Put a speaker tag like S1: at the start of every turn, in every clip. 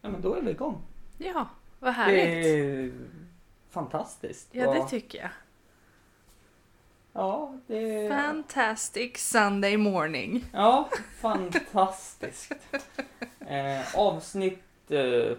S1: Ja, men då är vi igång.
S2: Ja, vad härligt.
S1: Det är fantastiskt.
S2: Ja, det
S1: Och-
S2: tycker jag.
S1: Ja, det
S2: Fantastic Sunday morning.
S1: Ja, fantastiskt. Eh, avsnitt... Eh,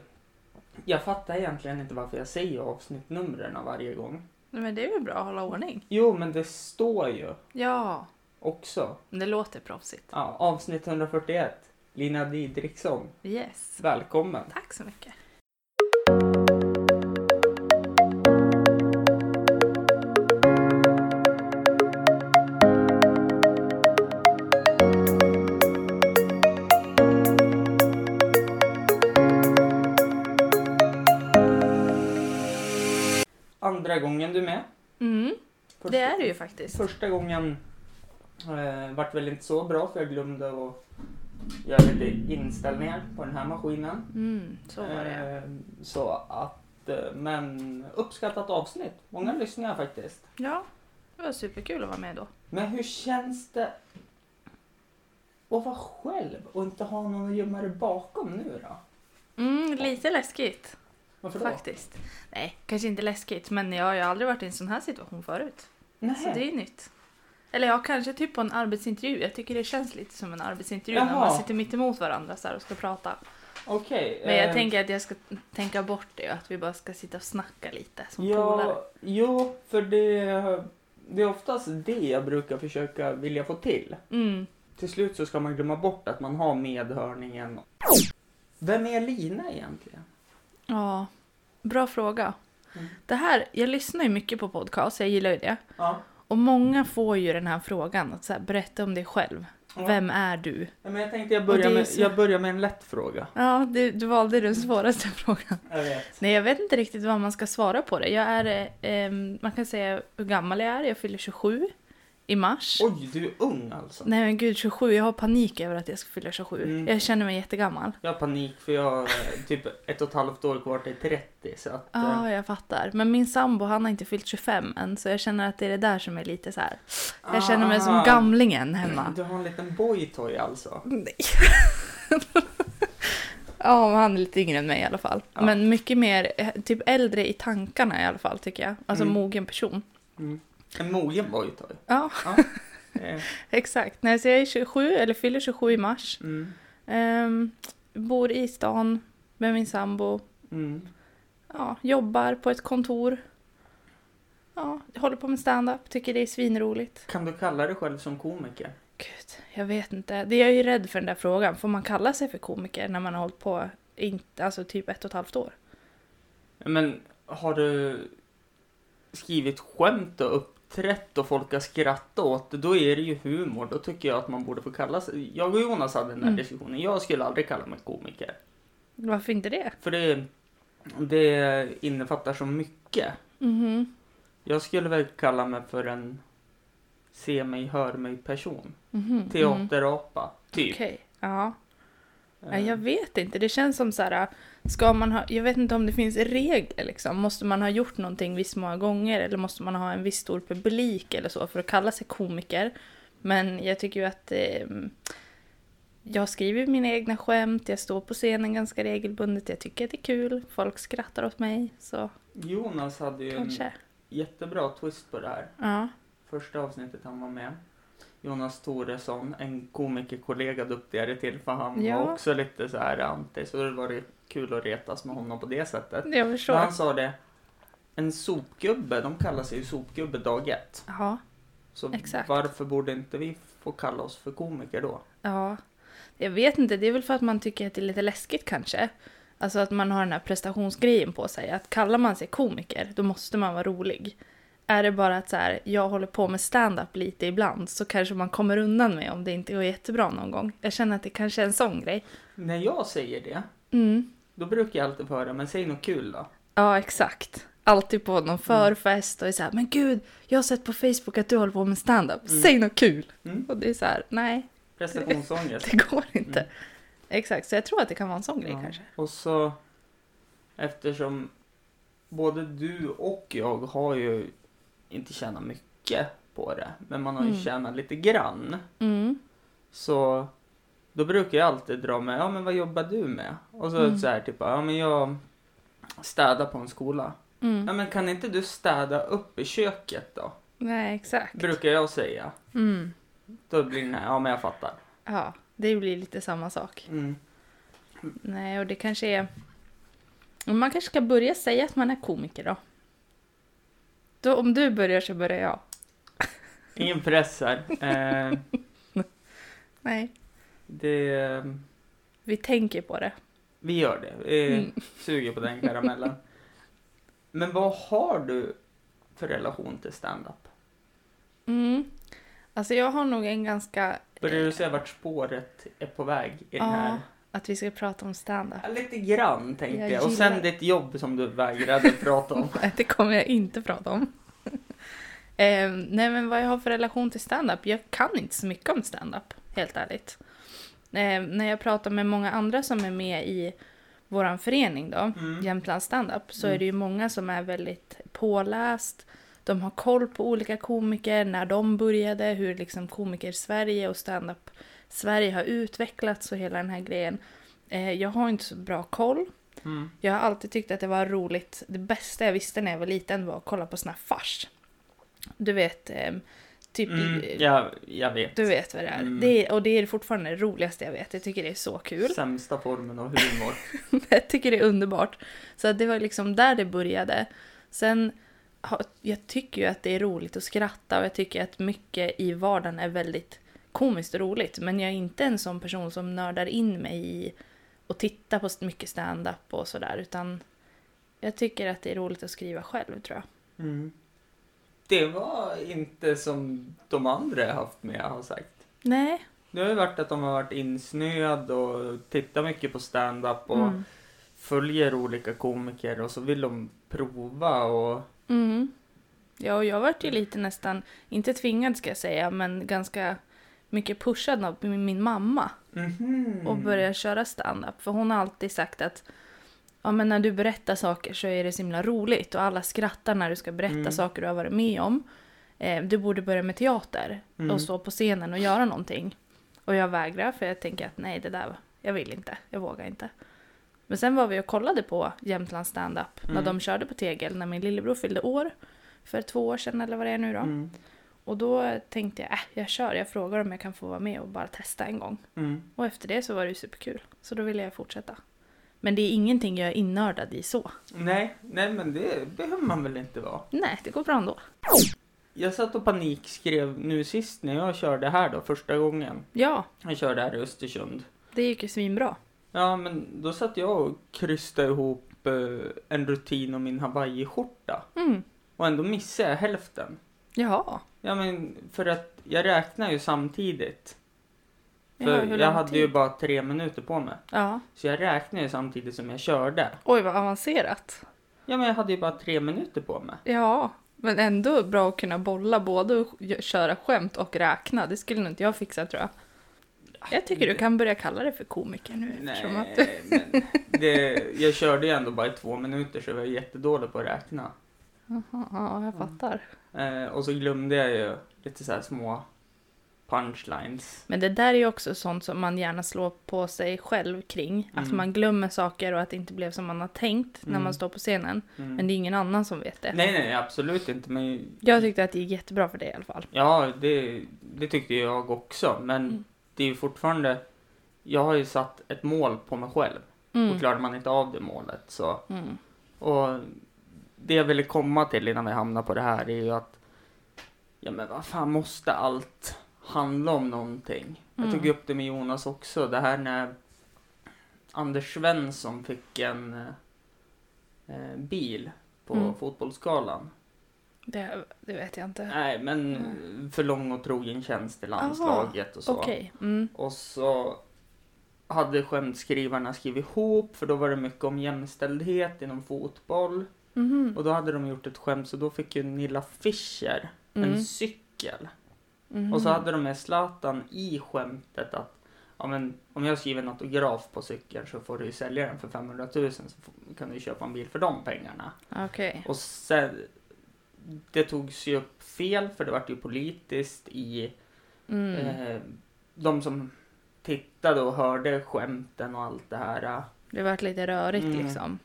S1: jag fattar egentligen inte varför jag säger avsnittnumren varje gång.
S2: Nej, Men det är väl bra att hålla ordning?
S1: Jo, men det står ju
S2: Ja,
S1: också.
S2: men det låter proffsigt.
S1: Ja, avsnitt 141. Lina Didriksson,
S2: Yes.
S1: välkommen.
S2: Tack så mycket.
S1: Andra gången du är med.
S2: Mm,
S1: Första-
S2: det är det ju faktiskt.
S1: Första gången eh, vart väl inte så bra för jag glömde att göra lite inställningar på den här maskinen.
S2: Mm, så var det.
S1: Eh, Så att, eh, men uppskattat avsnitt. Många lyssningar faktiskt.
S2: Ja, det var superkul att vara med då.
S1: Men hur känns det att vara själv och inte ha någon att gömma dig bakom nu då?
S2: Mm, lite läskigt
S1: Varför då?
S2: faktiskt. Nej, kanske inte läskigt, men jag har ju aldrig varit i en sån här situation förut. Så
S1: Nej.
S2: det är nytt. Eller ja, kanske typ på en arbetsintervju. Jag tycker det känns lite som en arbetsintervju när
S1: Jaha.
S2: man sitter mitt emot varandra så här och ska prata.
S1: Okej.
S2: Men jag
S1: eh,
S2: tänker att jag ska tänka bort det och att vi bara ska sitta och snacka lite som polare.
S1: ja, Jo, för det, det är oftast det jag brukar försöka vilja få till.
S2: Mm.
S1: Till slut så ska man glömma bort att man har medhörningen. Vem är Lina egentligen?
S2: Ja, bra fråga.
S1: Mm.
S2: Det här, jag lyssnar ju mycket på podcast, jag gillar ju det.
S1: Ja.
S2: Och många får ju den här frågan, att så här, berätta om dig själv.
S1: Ja.
S2: Vem är du?
S1: Ja, Men jag tänkte jag
S2: Och
S1: börjar,
S2: det är
S1: med,
S2: så-
S1: jag börjar med en lätt fråga.
S2: Ja, du, du valde den svåraste frågan.
S1: Jag vet.
S2: Nej, jag vet inte riktigt vad man ska svara på det. Jag är, eh, ehm, man kan säga hur gammal jag är, jag fyller 27 i mars.
S1: Oj, du är ung alltså.
S2: Nej men gud, 27, jag har panik över att jag ska fylla 27.
S1: Mm.
S2: Jag känner mig jättegammal.
S1: Jag har panik för jag har eh, typ ett och ett halvt år kvar till 30 så att...
S2: Ja,
S1: eh,
S2: jag fattar. Men min sambo han har inte fyllt 25 än så jag känner att det är det där som är lite så här. Jag känner mig som
S1: ah,
S2: gamlingen hemma.
S1: Du har en liten boytoy alltså.
S2: Nej. ja, men han är lite yngre än mig i alla fall.
S1: Ja.
S2: Men mycket mer, eh, typ äldre i tankarna i alla fall tycker jag. Alltså
S1: Mm.
S2: mogen person.
S1: Mm. En mogen boytoy.
S2: Ja,
S1: Eh,
S2: exakt. Nej, så jag är 27, eller fyller 27 i mars.
S1: Mm.
S2: Ehm, bor i stan med min sambo.
S1: Mm.
S2: ja, jobbar på ett kontor. Ja, jag håller på med stand-up, tycker det är svinroligt.
S1: Kan du kalla dig själv som komiker?
S2: Gud, jag vet inte. Det är jag ju rädd för den där frågan. Får man kalla sig för komiker när man har hållit på inte, alltså typ ett och ett halvt år?
S1: Men har du skrivit skämt och uppträtt och folk har skrattat åt det, då är det ju humor. Då tycker jag att man borde få kalla sig... Jag och Jonas hade den här
S2: Mm.
S1: diskussionen. Jag skulle aldrig kalla mig komiker.
S2: Varför inte det?
S1: För det, det innefattar så mycket.
S2: Mhm.
S1: Jag skulle väl kalla mig för en se mig, hör mig person.
S2: Mhm. Mhm.
S1: Teaterapa, typ.
S2: Okej, ja.
S1: Eh,
S2: Nej, Jag vet inte. Det känns som så här, ska man ha, jag vet inte om det finns regler liksom. Måste man ha gjort någonting visst många gånger eller måste man ha en viss stor publik eller så för att kalla sig komiker? Men jag tycker ju att eh, jag skriver mina egna skämt, jag står på scenen ganska regelbundet, jag tycker att det är kul, folk skrattar åt mig så
S1: Eh, Jonas hade ju en
S2: kanske.
S1: jättebra twist på det här.
S2: Ja.
S1: Första avsnittet han var med. Jonas Toresson, en komikerkollega duktigare till för han
S2: Ja.
S1: var också lite så här anti så det var det kul att retas med honom på det sättet.
S2: Jag
S1: Men
S2: förstår.
S1: han sa det, en sopgubbe, de kallar sig ju sopgubbe dag ett.
S2: Ja.
S1: Så
S2: Exakt.
S1: varför borde inte vi få kalla oss för komiker då?
S2: Ja, jag vet inte. Det är väl för att man tycker att det är lite läskigt kanske. Alltså att man har den här prestationsgrejen på sig. Att kallar man sig komiker, då måste man vara rolig. Är det bara att så här, jag håller på med stand-up lite ibland så kanske man kommer undan med om det inte går jättebra någon gång. Jag känner att det kanske är en sån grej.
S1: När jag säger det,
S2: Mm.
S1: då brukar jag alltid få höra, men säg något kul då.
S2: Ja, exakt. Alltid på
S1: Mm.
S2: någon förfest och är så här, men gud, jag har sett på Facebook att du håller på med stand-up.
S1: Mm.
S2: Säg något kul!
S1: Mm.
S2: Och det är så här, nej,
S1: Prestationsångest.
S2: det går inte.
S1: Mm.
S2: Exakt, så jag tror att det kan vara en sån grej
S1: Ja.
S2: kanske.
S1: Och så, eftersom både du och jag har ju inte tjänat mycket på det, men man har ju
S2: Mm.
S1: tjänat lite grann.
S2: Mm.
S1: Så Då brukar jag alltid dra med, ja men vad jobbar du med? Och så,
S2: Mm.
S1: så här typ, ja men jag städar på en skola.
S2: Mm.
S1: Ja men kan inte du städa upp i köket då?
S2: Nej, exakt.
S1: Brukar jag säga.
S2: Mm.
S1: Då blir den här, ja men jag fattar.
S2: Ja, det blir lite samma sak.
S1: Mm.
S2: Nej, och det kanske är... Man kanske ska börja säga att man är komiker då. då om du börjar så börjar jag.
S1: Ingen press här. Eh,
S2: Nej.
S1: det,
S2: Vi tänker på det.
S1: vi gör det. Eh,
S2: Mm.
S1: Suger på den karamellen. Men vad har du för relation till stand-up?
S2: Mm. Alltså jag har nog en ganska...
S1: Börjar du se vart spåret är på väg i den
S2: Ja.
S1: här?
S2: Att vi ska prata om stand-up.
S1: Ja, Lite grann tänkte jag.
S2: Ah. Jag
S1: Och
S2: gillar-
S1: sen ditt jobb som du vägrade prata om.
S2: Nej, det kommer jag inte prata om. eh, nej, men vad jag har för relation till stand-up? Jag kan inte så mycket om stand-up, helt ärligt. Eh, när jag pratar med många andra som är med i vår förening då,
S1: Mm.
S2: Jämtland stand-up, så
S1: Mm.
S2: är det ju många som är väldigt påläst. De har koll på olika komiker, när de började, hur liksom komiker-Sverige och stand-up Sverige har utvecklats och hela den här grejen. Eh, jag har inte så bra koll.
S1: Mm.
S2: Jag har alltid tyckt att det var roligt. Det bästa jag visste när jag var liten var att kolla på sån här fars. Du vet, ehm, typ...
S1: Mm, ja, jag vet.
S2: Du vet vad det är.
S1: Mm.
S2: det är. Och det är fortfarande det roligaste jag vet. Jag tycker det är så kul.
S1: Sämsta formen av humor.
S2: jag tycker det är underbart. Så att det var liksom där det började. Sen, har- jag tycker ju att det är roligt att skratta och jag tycker att mycket i vardagen är väldigt komiskt och roligt. Men jag är inte en sån person som nördar in mig i och tittar på mycket stand-up och sådär. Utan jag tycker att det är roligt att skriva själv tror jag.
S1: Mm. Det var inte som de andra jag haft med har sagt.
S2: Nej.
S1: Det har ju varit att de har varit insnöad och tittar mycket på stand-up och
S2: Mm.
S1: följer olika komiker och så vill de prova och
S2: Mm. Ja, och jag vart ju lite nästan, inte tvingad ska jag säga, men ganska mycket pushad av min min mamma.
S1: Mhm.
S2: och börja köra stand-up. För hon har alltid sagt att ja, men när du berättar saker så är det så himla roligt och alla skrattar när du ska berätta
S1: Mm.
S2: saker du har varit med om. Eh, du borde börja med teater
S1: Mm.
S2: och stå på scenen och göra någonting. Och jag vägrar för jag tänker att nej, det där, jag vill inte, jag vågar inte. Men sen var vi och kollade på Jämtland stand-up
S1: Mm.
S2: när de körde på Tegel när min lillebror fyllde år. För två år sedan eller vad det är nu då.
S1: Mm.
S2: Och då tänkte jag, äh, jag kör, jag frågar om jag kan få vara med och bara testa en gång.
S1: Mm.
S2: Och efter det så var det ju superkul. Så då ville jag fortsätta. Men det är ingenting jag är innördad i så.
S1: Nej, nej men det behöver man väl inte vara.
S2: Nej, det går bra ändå.
S1: Jag satt och panikskrev nu sist när jag körde här då första gången.
S2: Ja,
S1: Jag körde här i Östersund.
S2: det gick ju svinbra.
S1: Ja men då satt jag och krystade ihop eh, en rutin om min hawaiiskjorta
S2: Mm.
S1: och ändå missade jag hälften.
S2: Jaha.
S1: Ja men för att jag räknar ju samtidigt.
S2: Ja,
S1: För
S2: hur lång
S1: jag hade
S2: tid?
S1: ju bara tre minuter på mig.
S2: Ja.
S1: Så jag räknade ju samtidigt som jag körde.
S2: Oj, vad avancerat.
S1: Ja men jag hade ju bara tre minuter på mig.
S2: Ja, men ändå bra att kunna bolla både och gö- köra skämt och räkna. Det skulle nog inte jag fixa tror jag. Jag tycker du kan börja kalla det för komiker nu. eftersom Att du...
S1: Nej, men det, jag körde ju ändå bara i två minuter så jag var jättedålig på att räkna.
S2: Jaha, ja, jag fattar.
S1: Eh, och så glömde jag ju lite så här små punchlines.
S2: Men det där är ju också sånt som man gärna slår på sig själv kring. Att
S1: Mm.
S2: man glömmer saker och att det inte blev som man har tänkt när
S1: Mm.
S2: man står på scenen.
S1: Mm.
S2: Men det är ingen annan som vet det.
S1: Nej, nej, absolut inte. Men
S2: Jag tyckte att det gick jättebra för dig i alla fall.
S1: Ja, det, det tyckte jag också. Men
S2: Mm.
S1: det är ju fortfarande... Jag har ju satt ett mål på mig själv
S2: Mm.
S1: och klarade man inte av det målet så...
S2: Mm.
S1: Och det jag ville komma till innan vi hamnar på det här är ju att... Ja men vad fan måste allt handla om någonting? Jag tog
S2: Mm.
S1: upp det med Jonas också, det här när Anders Svensson fick en eh, bil på
S2: Mm.
S1: fotbollsskalan.
S2: Det, det vet jag inte.
S1: Nej, men
S2: Mm.
S1: för lång och trogen tjänst i landslaget och så.
S2: Okej. Mm.
S1: Och så hade skämtskrivarna skrivit ihop, för då var det mycket om jämställdhet inom fotboll.
S2: Mhm.
S1: Och då hade de gjort ett skämt, så då fick ju Nilla Fischer
S2: Mm.
S1: en cykel.
S2: Mhm.
S1: Och så hade de med Zlatan i skämtet att ja, men, om jag skriver en autograf på cykeln så får du ju sälja den för 500 000 så f- kan du ju köpa en bil för de pengarna.
S2: Okej.
S1: Och sen, det togs ju upp Eh. fel för det vart ju politiskt i
S2: Mm.
S1: eh, de som tittade och hörde skämten och allt det här.
S2: Det vart lite rörigt
S1: Mm.
S2: liksom.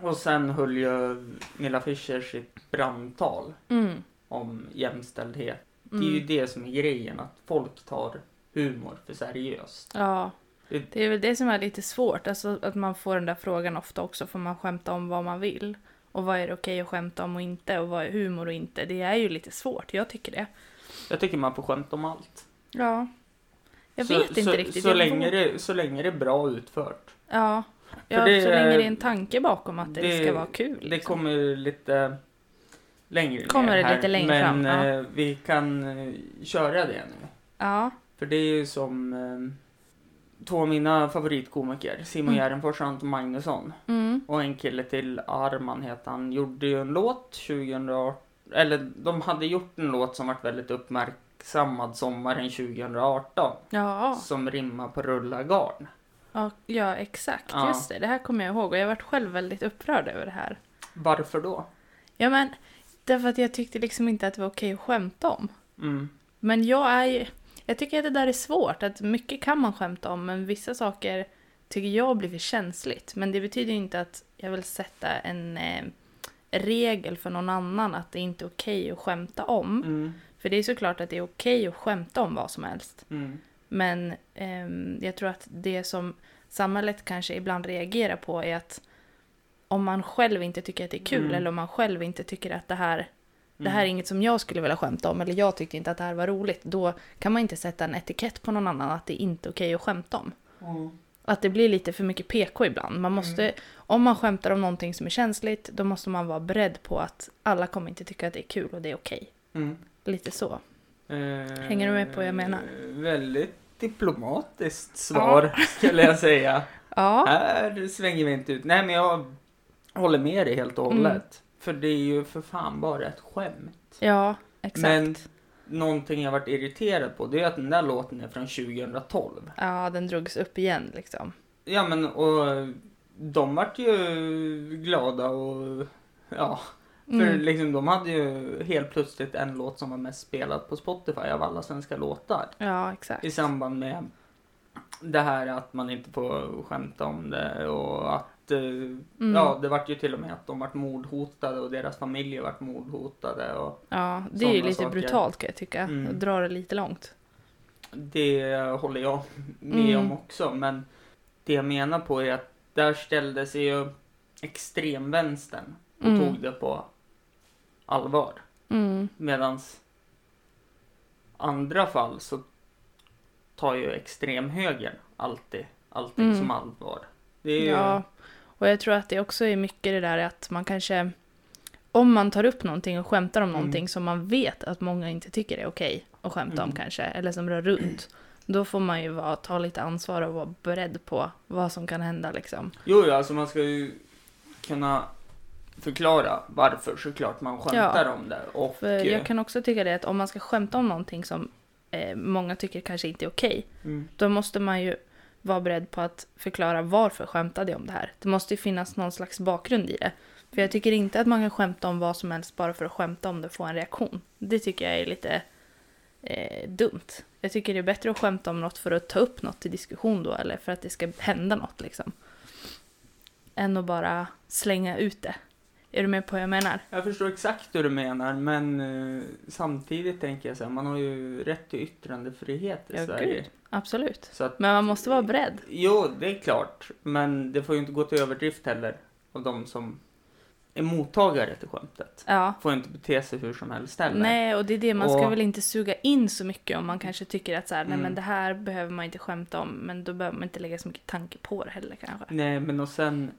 S1: Och sen höll ju Nilla Fischer sitt brandtal
S2: Mm.
S1: om jämställdhet. Det är ju
S2: Mm.
S1: det som är grejen, att folk tar humor för seriöst.
S2: Ja.
S1: Det-
S2: Det är väl det som är lite svårt, alltså att man får den där frågan ofta också, får man skämta om vad man vill? Och vad är det okej att skämta om och inte? Och vad är humor och inte? Det är ju lite svårt, jag tycker det.
S1: Jag tycker man får skämta om allt.
S2: Ja. Jag
S1: så,
S2: vet inte
S1: så,
S2: riktigt.
S1: Så
S2: jag
S1: länge,
S2: vågar-
S1: det, så länge det är bra utfört.
S2: Ja.
S1: För
S2: ja
S1: det
S2: så länge
S1: är-
S2: det är en tanke bakom att det,
S1: det-
S2: ska vara kul.
S1: Det
S2: liksom.
S1: kommer lite längre
S2: Kommer
S1: ner
S2: det
S1: här,
S2: lite längre
S1: Men
S2: fram, ja.
S1: eh, vi kan eh, köra det nu.
S2: Ja.
S1: För det är ju som eh, två av mina favoritkomiker, Simon
S2: Mm.
S1: Gärdenfors och Anton Magnusson.
S2: Mm.
S1: Och en kille till, Arman heter han, gjorde ju en låt 2018, eller de hade gjort en låt som varit väldigt uppmärksammad sommaren 2018.
S2: Ja.
S1: Som rimmar på rulla garn.
S2: ja. Ja, exakt.
S1: Ja.
S2: Just det, det här kommer jag ihåg och jag varit själv väldigt upprörd över det här.
S1: Varför då?
S2: Ja men, därför att jag tyckte liksom inte att det var okej att skämta om.
S1: Mm.
S2: Men jag är ju, jag tycker att det där är svårt, att mycket kan man skämta om men vissa saker tycker jag blir för känsligt. Men det betyder ju inte att jag vill sätta en eh, regel för någon annan att det inte är okej att skämta om.
S1: Mm.
S2: För det är såklart att det är okej att skämta om vad som helst.
S1: Mm.
S2: Men ehm, jag tror att det som samhället kanske ibland reagerar på är att om man själv inte tycker att det är kul
S1: Mm.
S2: eller om man själv inte tycker att det här det här är inget som jag skulle vilja skämta om eller jag tyckte inte att det här var roligt. Då kan man inte sätta en etikett på någon annan att det är inte okej att skämta om.
S1: Mm.
S2: Att det blir lite för mycket PK ibland. Man måste, Om man skämtar om någonting som är känsligt då måste man vara beredd på att alla kommer inte tycka att det är kul och det är okej.
S1: Mm.
S2: Lite så.
S1: Eh,
S2: Hänger du med på vad jag menar?
S1: Väldigt diplomatiskt svar skulle jag säga.
S2: Ja,
S1: Här svänger vi inte ut. Nej men jag håller med dig helt och
S2: Mm.
S1: hållet. För det är ju för fan bara ett skämt.
S2: ja exakt.
S1: Men- Någonting jag varit irriterad på det är att den där låten är från 2012.
S2: Ja, den drogs upp igen liksom.
S1: Ja men och de vart ju glada och ja. För
S2: Mm.
S1: liksom de hade ju helt plötsligt en låt som var mest spelad på Spotify av alla svenska låtar.
S2: Ja, exakt.
S1: I samband med det här att man inte får skämta om det och att eh,
S2: Mm.
S1: ja, det vart ju till och med att de vart mordhotade och deras familjer vart mordhotade och
S2: ja, det är
S1: sådana
S2: ju lite
S1: saker.
S2: brutalt kan jag tycka.
S1: Mm.
S2: Och drar det lite långt.
S1: det håller jag med
S2: Mm.
S1: om också. Men det jag menar på är att där ställde sig ju extremvänstern och
S2: Mm.
S1: tog det på allvar.
S2: Mm.
S1: Medans andra fall så tar ju extremhögern alltid allting
S2: Mm.
S1: som allvar. Det är ju...
S2: Ja, och jag tror att det också är mycket det där att man kanske, om man tar upp någonting och skämtar om
S1: Mm.
S2: någonting som man vet att många inte tycker är okej att skämta om
S1: Mm.
S2: kanske, eller som rör runt, då får man ju vara, ta lite ansvar och vara beredd på vad som kan hända liksom.
S1: Jo, ja, alltså man ska ju kunna förklara varför såklart man skämtar om det. Och eh,
S2: För jag kan också tycka det att om man ska skämta om någonting som eh, många tycker kanske inte är okej,
S1: mm,
S2: då måste man ju vara beredd på att förklara varför skämtade jag om det här. Det måste ju finnas någon slags bakgrund i det. För jag tycker inte att man kan skämta om vad som helst bara för att skämta om det och få en reaktion. Det tycker jag är lite eh, dumt. Jag tycker det är bättre att skämta om något för att ta upp något till diskussion då eller för att det ska hända något liksom. Än att bara slänga ut det. Är du med på vad jag menar?
S1: jag förstår exakt hur du menar, men eh, samtidigt tänker jag så här, man har ju rätt till yttrandefrihet i
S2: Ja,
S1: Sverige.
S2: gud. Absolut.
S1: Så att,
S2: Men man måste vara beredd.
S1: jo, det är klart, men det får ju inte gå till överdrift heller av de som är mottagare till skämtet.
S2: Ja.
S1: Får ju inte bete sig hur som helst heller.
S2: Nej, och det är det. Man ska
S1: Och-
S2: väl inte suga in så mycket om man kanske tycker att så här, nej
S1: Mm.
S2: men det här behöver man inte skämta om, men då behöver man inte lägga så mycket tanke på det heller kanske.
S1: Nej, men och sen,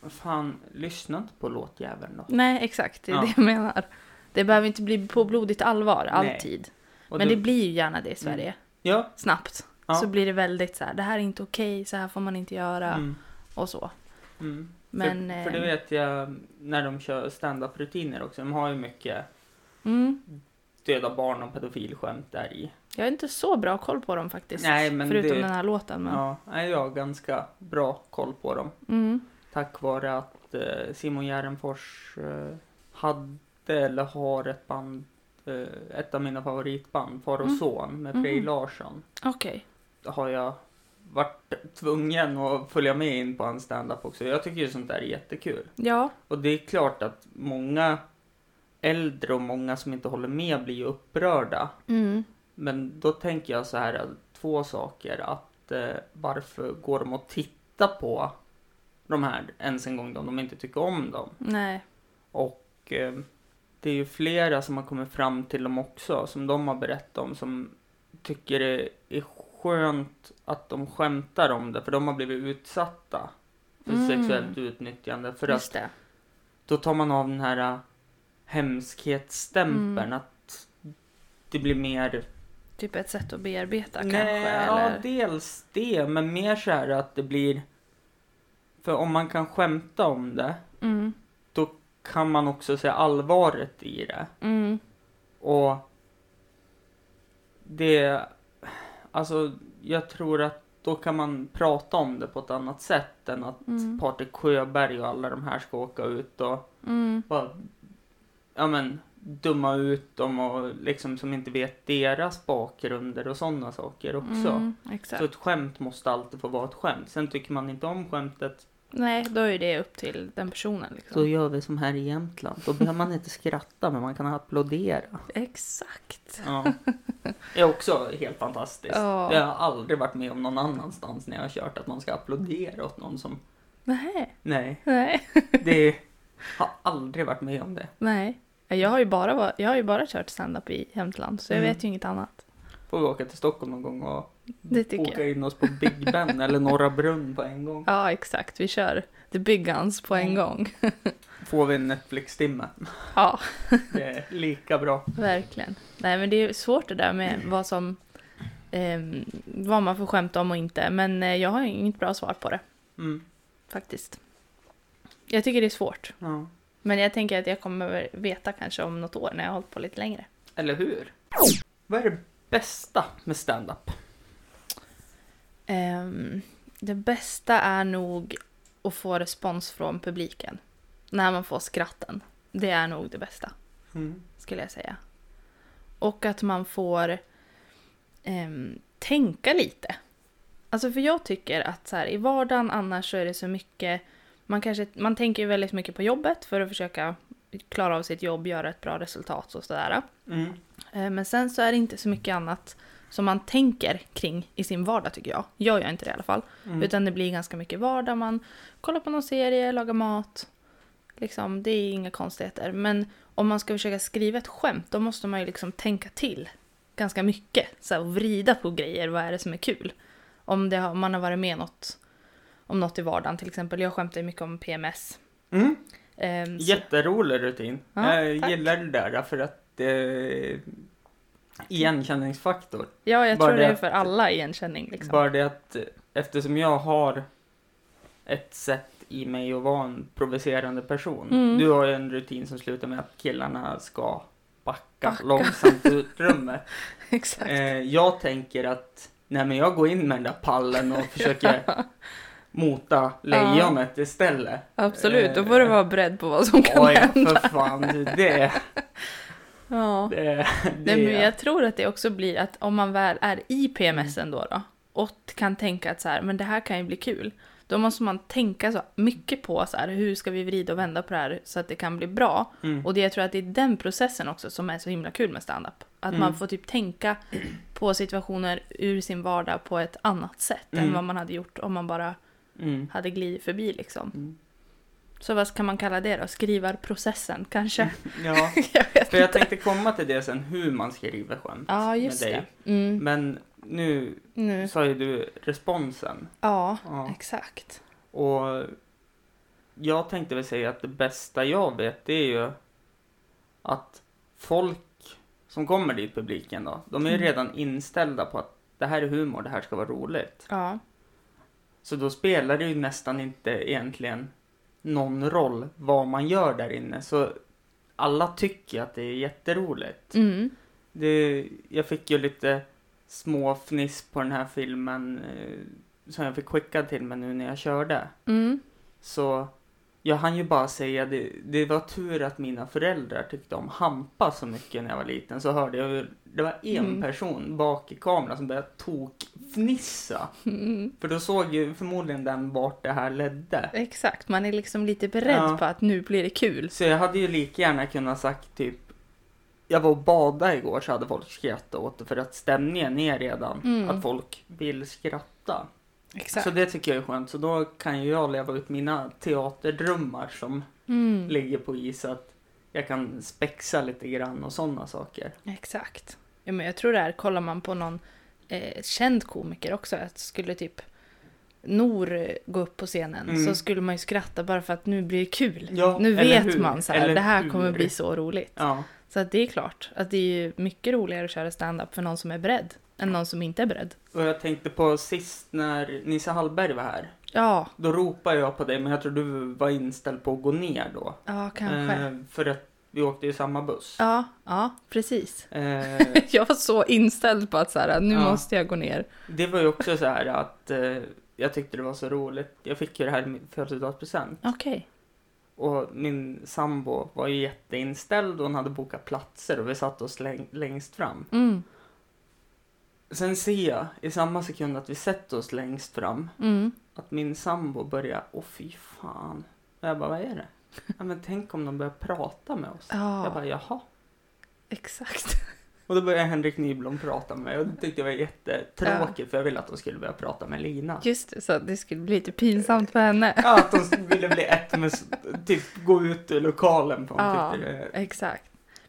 S1: vad fan, lyssna inte på låtjäveln då.
S2: Nej, exakt. Det är
S1: Ja.
S2: det jag menar. Det behöver inte bli på blodigt allvar
S1: Nej.
S2: alltid.
S1: Och
S2: men
S1: du-
S2: det blir ju gärna det i Sverige.
S1: Ja.
S2: Snabbt.
S1: Ja.
S2: Så blir det väldigt så här, det här är inte okej, så här får man inte göra
S1: Mm.
S2: och så.
S1: Mm.
S2: Men,
S1: för, för det
S2: eh,
S1: vet jag när de kör stand-up rutiner också. De har ju mycket
S2: Mm.
S1: döda barn och pedofilskämt där i.
S2: Jag har inte så bra koll på dem faktiskt.
S1: Nej, men
S2: förutom
S1: det-
S2: den här låten. Men...
S1: Ja, nej, jag har ganska bra koll på dem.
S2: Mm.
S1: Tack vare att eh, Simon Gärdenfors eh, hade eller har ett band, eh, ett av mina favoritband, Far och
S2: Mm.
S1: son med Prej
S2: Mhm.
S1: Larsson.
S2: Okej.
S1: Har jag varit tvungen att följa med in på en standup också. Jag tycker ju sånt där är jättekul.
S2: Ja,
S1: Och det är klart att många äldre och många som inte håller med blir ju upprörda.
S2: mm.
S1: Men då tänker jag så här, två saker. Att eh, varför går de och tittar på de här ens en gång om de inte tycker om dem?
S2: nej.
S1: Och eh, det är ju flera som har kommit fram till dem också, som de har berättat om, som tycker det är skönt att de skämtar om det, för de har blivit utsatta för
S2: Mm.
S1: sexuellt utnyttjande. För att
S2: Just det.
S1: då tar man av den här äh, hemskhetsstämpeln,
S2: Mm.
S1: att det blir mer...
S2: Typ ett sätt att bearbeta
S1: Nej,
S2: kanske. Eller...
S1: ja, dels det, men mer så här att det blir... För om man kan skämta om det,
S2: Mm.
S1: kan man också se allvaret i det.
S2: Mm.
S1: Och det, alltså jag tror att då kan man prata om det på ett annat sätt än att
S2: Mm.
S1: Patrik Sjöberg och alla de här ska åka ut och
S2: Mm.
S1: bara, ja men, dumma ut dem och liksom som inte vet deras bakgrunder och sådana saker också.
S2: Mm.
S1: Så
S2: Exakt.
S1: ett skämt måste alltid få vara ett skämt. Sen tycker man inte om skämtet,
S2: Nej, då är det upp till den personen. Liksom.
S1: då gör vi som här i Jämtland. Då behöver man inte skratta, men man kan applådera.
S2: Exakt.
S1: Ja. Det är också helt fantastiskt.
S2: Ja.
S1: Det har jag aldrig varit med om någon annanstans när jag har kört att man ska applådera åt någon som...
S2: Nej.
S1: Nej,
S2: Nej.
S1: det har aldrig varit med om det.
S2: Nej. Jag har ju bara, var- jag har ju bara kört stand-up i Jämtland, så jag
S1: Mm.
S2: vet ju inget annat.
S1: Får vi åka till Stockholm någon gång och
S2: Det tycker
S1: åka in oss på Big Ben eller Norra Brunn på en gång.
S2: Ja, exakt. Vi kör The Big Guns på en
S1: Mm.
S2: gång.
S1: Får vi en Netflix-timme.
S2: Ja,
S1: Det är lika bra.
S2: verkligen. Nej, men det är ju svårt det där med
S1: Mm.
S2: vad som... ehm, vad man får skämta om och inte. Men eh, jag har ju inget bra svar på det,
S1: Mm.
S2: faktiskt. Jag tycker det är svårt.
S1: Ja.
S2: Men jag tänker att jag kommer veta kanske om något år när jag har hållit på lite längre.
S1: Eller hur? Vad är det bästa med stand-up?
S2: Ehm, det bästa är nog att få respons från publiken. När man får skratten. Det är nog det bästa.
S1: Mm.
S2: skulle jag säga. Och att man får ehm, tänka lite. Alltså för jag tycker att så här, i vardagen annars så är det så mycket, man, kanske, man tänker ju väldigt mycket på jobbet för att försöka klara av sitt jobb, göra ett bra resultat och sådär.
S1: Mm.
S2: Eh, Men sen så är det inte så mycket annat som man tänker kring i sin vardag tycker jag. Jag gör inte det i alla fall.
S1: Mm.
S2: Utan det blir ganska mycket vardag. Man kollar på någon serie, lagar mat. Liksom, det är inga konstigheter. Men om man ska försöka skriva ett skämt då måste man ju liksom tänka till ganska mycket. Så här, och vrida på grejer. Vad är det som är kul? Om, det har, om man har varit med något, om något i vardagen till exempel. Jag skämtar ju mycket om PMS.
S1: Mm.
S2: Ehm, så-
S1: Jätterolig rutin.
S2: Ja,
S1: jag
S2: tack.
S1: gillar det där för att eh, igenkänningsfaktor.
S2: ja, jag
S1: bara
S2: tror det
S1: det
S2: är för
S1: att-
S2: alla igenkänning. Liksom.
S1: Bara det att eh, eftersom jag har ett sätt i mig att vara en provocerande person.
S2: Mm.
S1: Du har ju en rutin som slutar med att killarna ska backa,
S2: Backa.
S1: långsamt ut rummet.
S2: Exakt.
S1: Eh, jag tänker att nej men jag går in med den där pallen och försöker mota lejonet istället.
S2: Absolut, då
S1: Eh,
S2: får du vara beredd på vad som kan
S1: Oj,
S2: hända.
S1: för fan. Det,
S2: Ja.
S1: det, det.
S2: Nej, men jag tror att det också blir att om man väl är i
S1: Mm.
S2: PMSen då, då och kan tänka att så här, men det här kan ju bli kul. Då måste man tänka så mycket på så här, hur ska vi vrida och vända på det här så att det kan bli bra.
S1: Mm.
S2: Och det, jag tror att det är den processen också som är så himla kul med stand-up. Att man
S1: Mm.
S2: får typ tänka på situationer ur sin vardag på ett annat sätt än
S1: Mm.
S2: vad man hade gjort om man bara
S1: Mm.
S2: hade glidit förbi liksom.
S1: Mm.
S2: Så vad kan man kalla det då? Skrivarprocessen kanske?
S1: Ja.
S2: jag vet
S1: För jag
S2: inte.
S1: tänkte komma till det sen, hur man skriver skämt
S2: Ja, just
S1: med dig.
S2: det. Mm.
S1: Men nu
S2: Nu.
S1: sa ju du responsen.
S2: Ja,
S1: Ja.
S2: exakt.
S1: Och jag tänkte väl säga att det bästa jag vet det är ju att folk som kommer dit, publiken då, de är ju
S2: Mm.
S1: redan inställda på att det här är humor, det här ska vara roligt.
S2: Ja.
S1: Så då spelar det ju nästan inte egentligen någon roll vad man gör där inne. Så alla tycker att det är jätteroligt.
S2: Mm.
S1: Det, jag fick ju lite småfniss på den här filmen eh, som jag fick skickad till mig nu när jag körde.
S2: Mm.
S1: Så Jag hann ju bara säga det, det var tur att mina föräldrar tyckte om Hampa så mycket när jag var liten. Så hörde jag hur det var en
S2: Mm.
S1: person bak i kameran som började tokfnissa.
S2: Mm,
S1: För då såg ju förmodligen den vart det här ledde.
S2: exakt, man är liksom lite beredd
S1: Ja.
S2: på att nu blir det kul.
S1: Så jag hade ju lika gärna kunnat sagt typ jag var och badade igår så hade folk skrattat åt det för att stämningen är redan
S2: Mm.
S1: att folk vill skratta.
S2: Exakt.
S1: Så det tycker jag är skönt. Så då kan ju jag leva ut mina teaterdrömmar som
S2: Mm,
S1: ligger på is att jag kan spexa lite grann och sådana saker.
S2: exakt. Ja, men jag tror det här, kollar man på någon eh, känd komiker också, att skulle typ Nor eh, gå upp på scenen
S1: Mm.
S2: så skulle man ju skratta bara för att nu blir det kul.
S1: Ja,
S2: nu
S1: eller
S2: vet
S1: hur?
S2: man så här,
S1: Eller
S2: det här
S1: hur?
S2: kommer bli så roligt.
S1: Ja,
S2: Så att det är klart att det är ju mycket roligare att köra stand-up för någon som är beredd än någon som inte är beredd.
S1: och jag tänkte på sist när Nisse Hallberg var här.
S2: Ja,
S1: Då ropade jag på dig men jag tror du var inställd på att gå ner då.
S2: ja kanske.
S1: Eh, för att vi åkte i samma buss.
S2: Ja, ja, precis.
S1: Eh,
S2: Jag var så inställd på att så här, nu
S1: Ja.
S2: måste jag gå ner.
S1: Det var ju också så här att eh, jag tyckte det var så roligt. Jag fick ju det här i min födelsedagspresent.
S2: Okej.
S1: Och min sambo var ju jätteinställd och hon hade bokat platser och vi satte oss läng- längst fram.
S2: Mm,
S1: Sen ser jag i samma sekund att vi sätter oss längst fram
S2: mm.
S1: att min sambo börjar, åh fy fan. Och jag bara, vad är det? Ja, men tänk om de börjar prata med oss.
S2: Ja,
S1: Jag bara, jaha.
S2: exakt.
S1: Och då började Henrik Nyblom prata med mig och det tyckte jag var jättetråkigt för jag ville att de skulle börja prata med Lina.
S2: Just det, så att det skulle bli lite pinsamt för henne.
S1: Ja, att de ville bli ett med, typ gå ut ur lokalen för hon
S2: Ja.
S1: tyckte det.
S2: Exakt.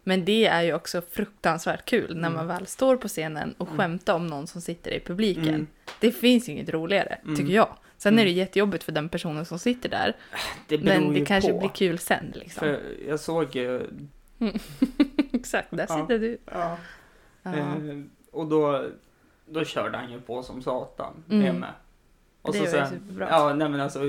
S2: Men det är ju också fruktansvärt kul när man väl står på scenen och
S1: Mm.
S2: skämtar om någon som sitter i publiken.
S1: Mm.
S2: Det finns inget roligare,
S1: Mm.
S2: tycker jag. Sen är det
S1: Mm.
S2: jättejobbigt för den personen som sitter där,
S1: Det beror
S2: men
S1: ju
S2: det kanske
S1: på.
S2: blir kul sen. Liksom. Mm.
S1: För jag såg ju,
S2: Exakt, där
S1: Ja. Eh,
S2: sitter du.
S1: ja,
S2: Ja.
S1: Eh, och då, då körde han ju på som satan
S2: Mm.
S1: med mig. Och
S2: det
S1: så
S2: var ju typ
S1: sen,
S2: superbra. Ja.
S1: ja nej men alltså,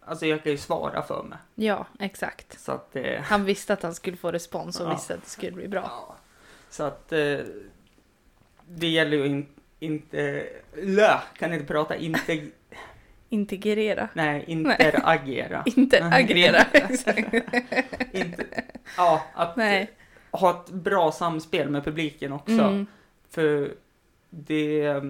S1: alltså jag kan ju svara för mig.
S2: exakt.
S1: Så att det,
S2: Han visste att han skulle få respons och
S1: Ja.
S2: visste att det skulle bli bra.
S1: ja. Så att eh, det gäller ju in, inte, lö, kan inte prata, inte,
S2: Integrera.
S1: nej, interagera.
S2: Interagera, exakt.
S1: inte, ja, att
S2: Nej.
S1: ha ett bra samspel med publiken också.
S2: Mm.
S1: För det,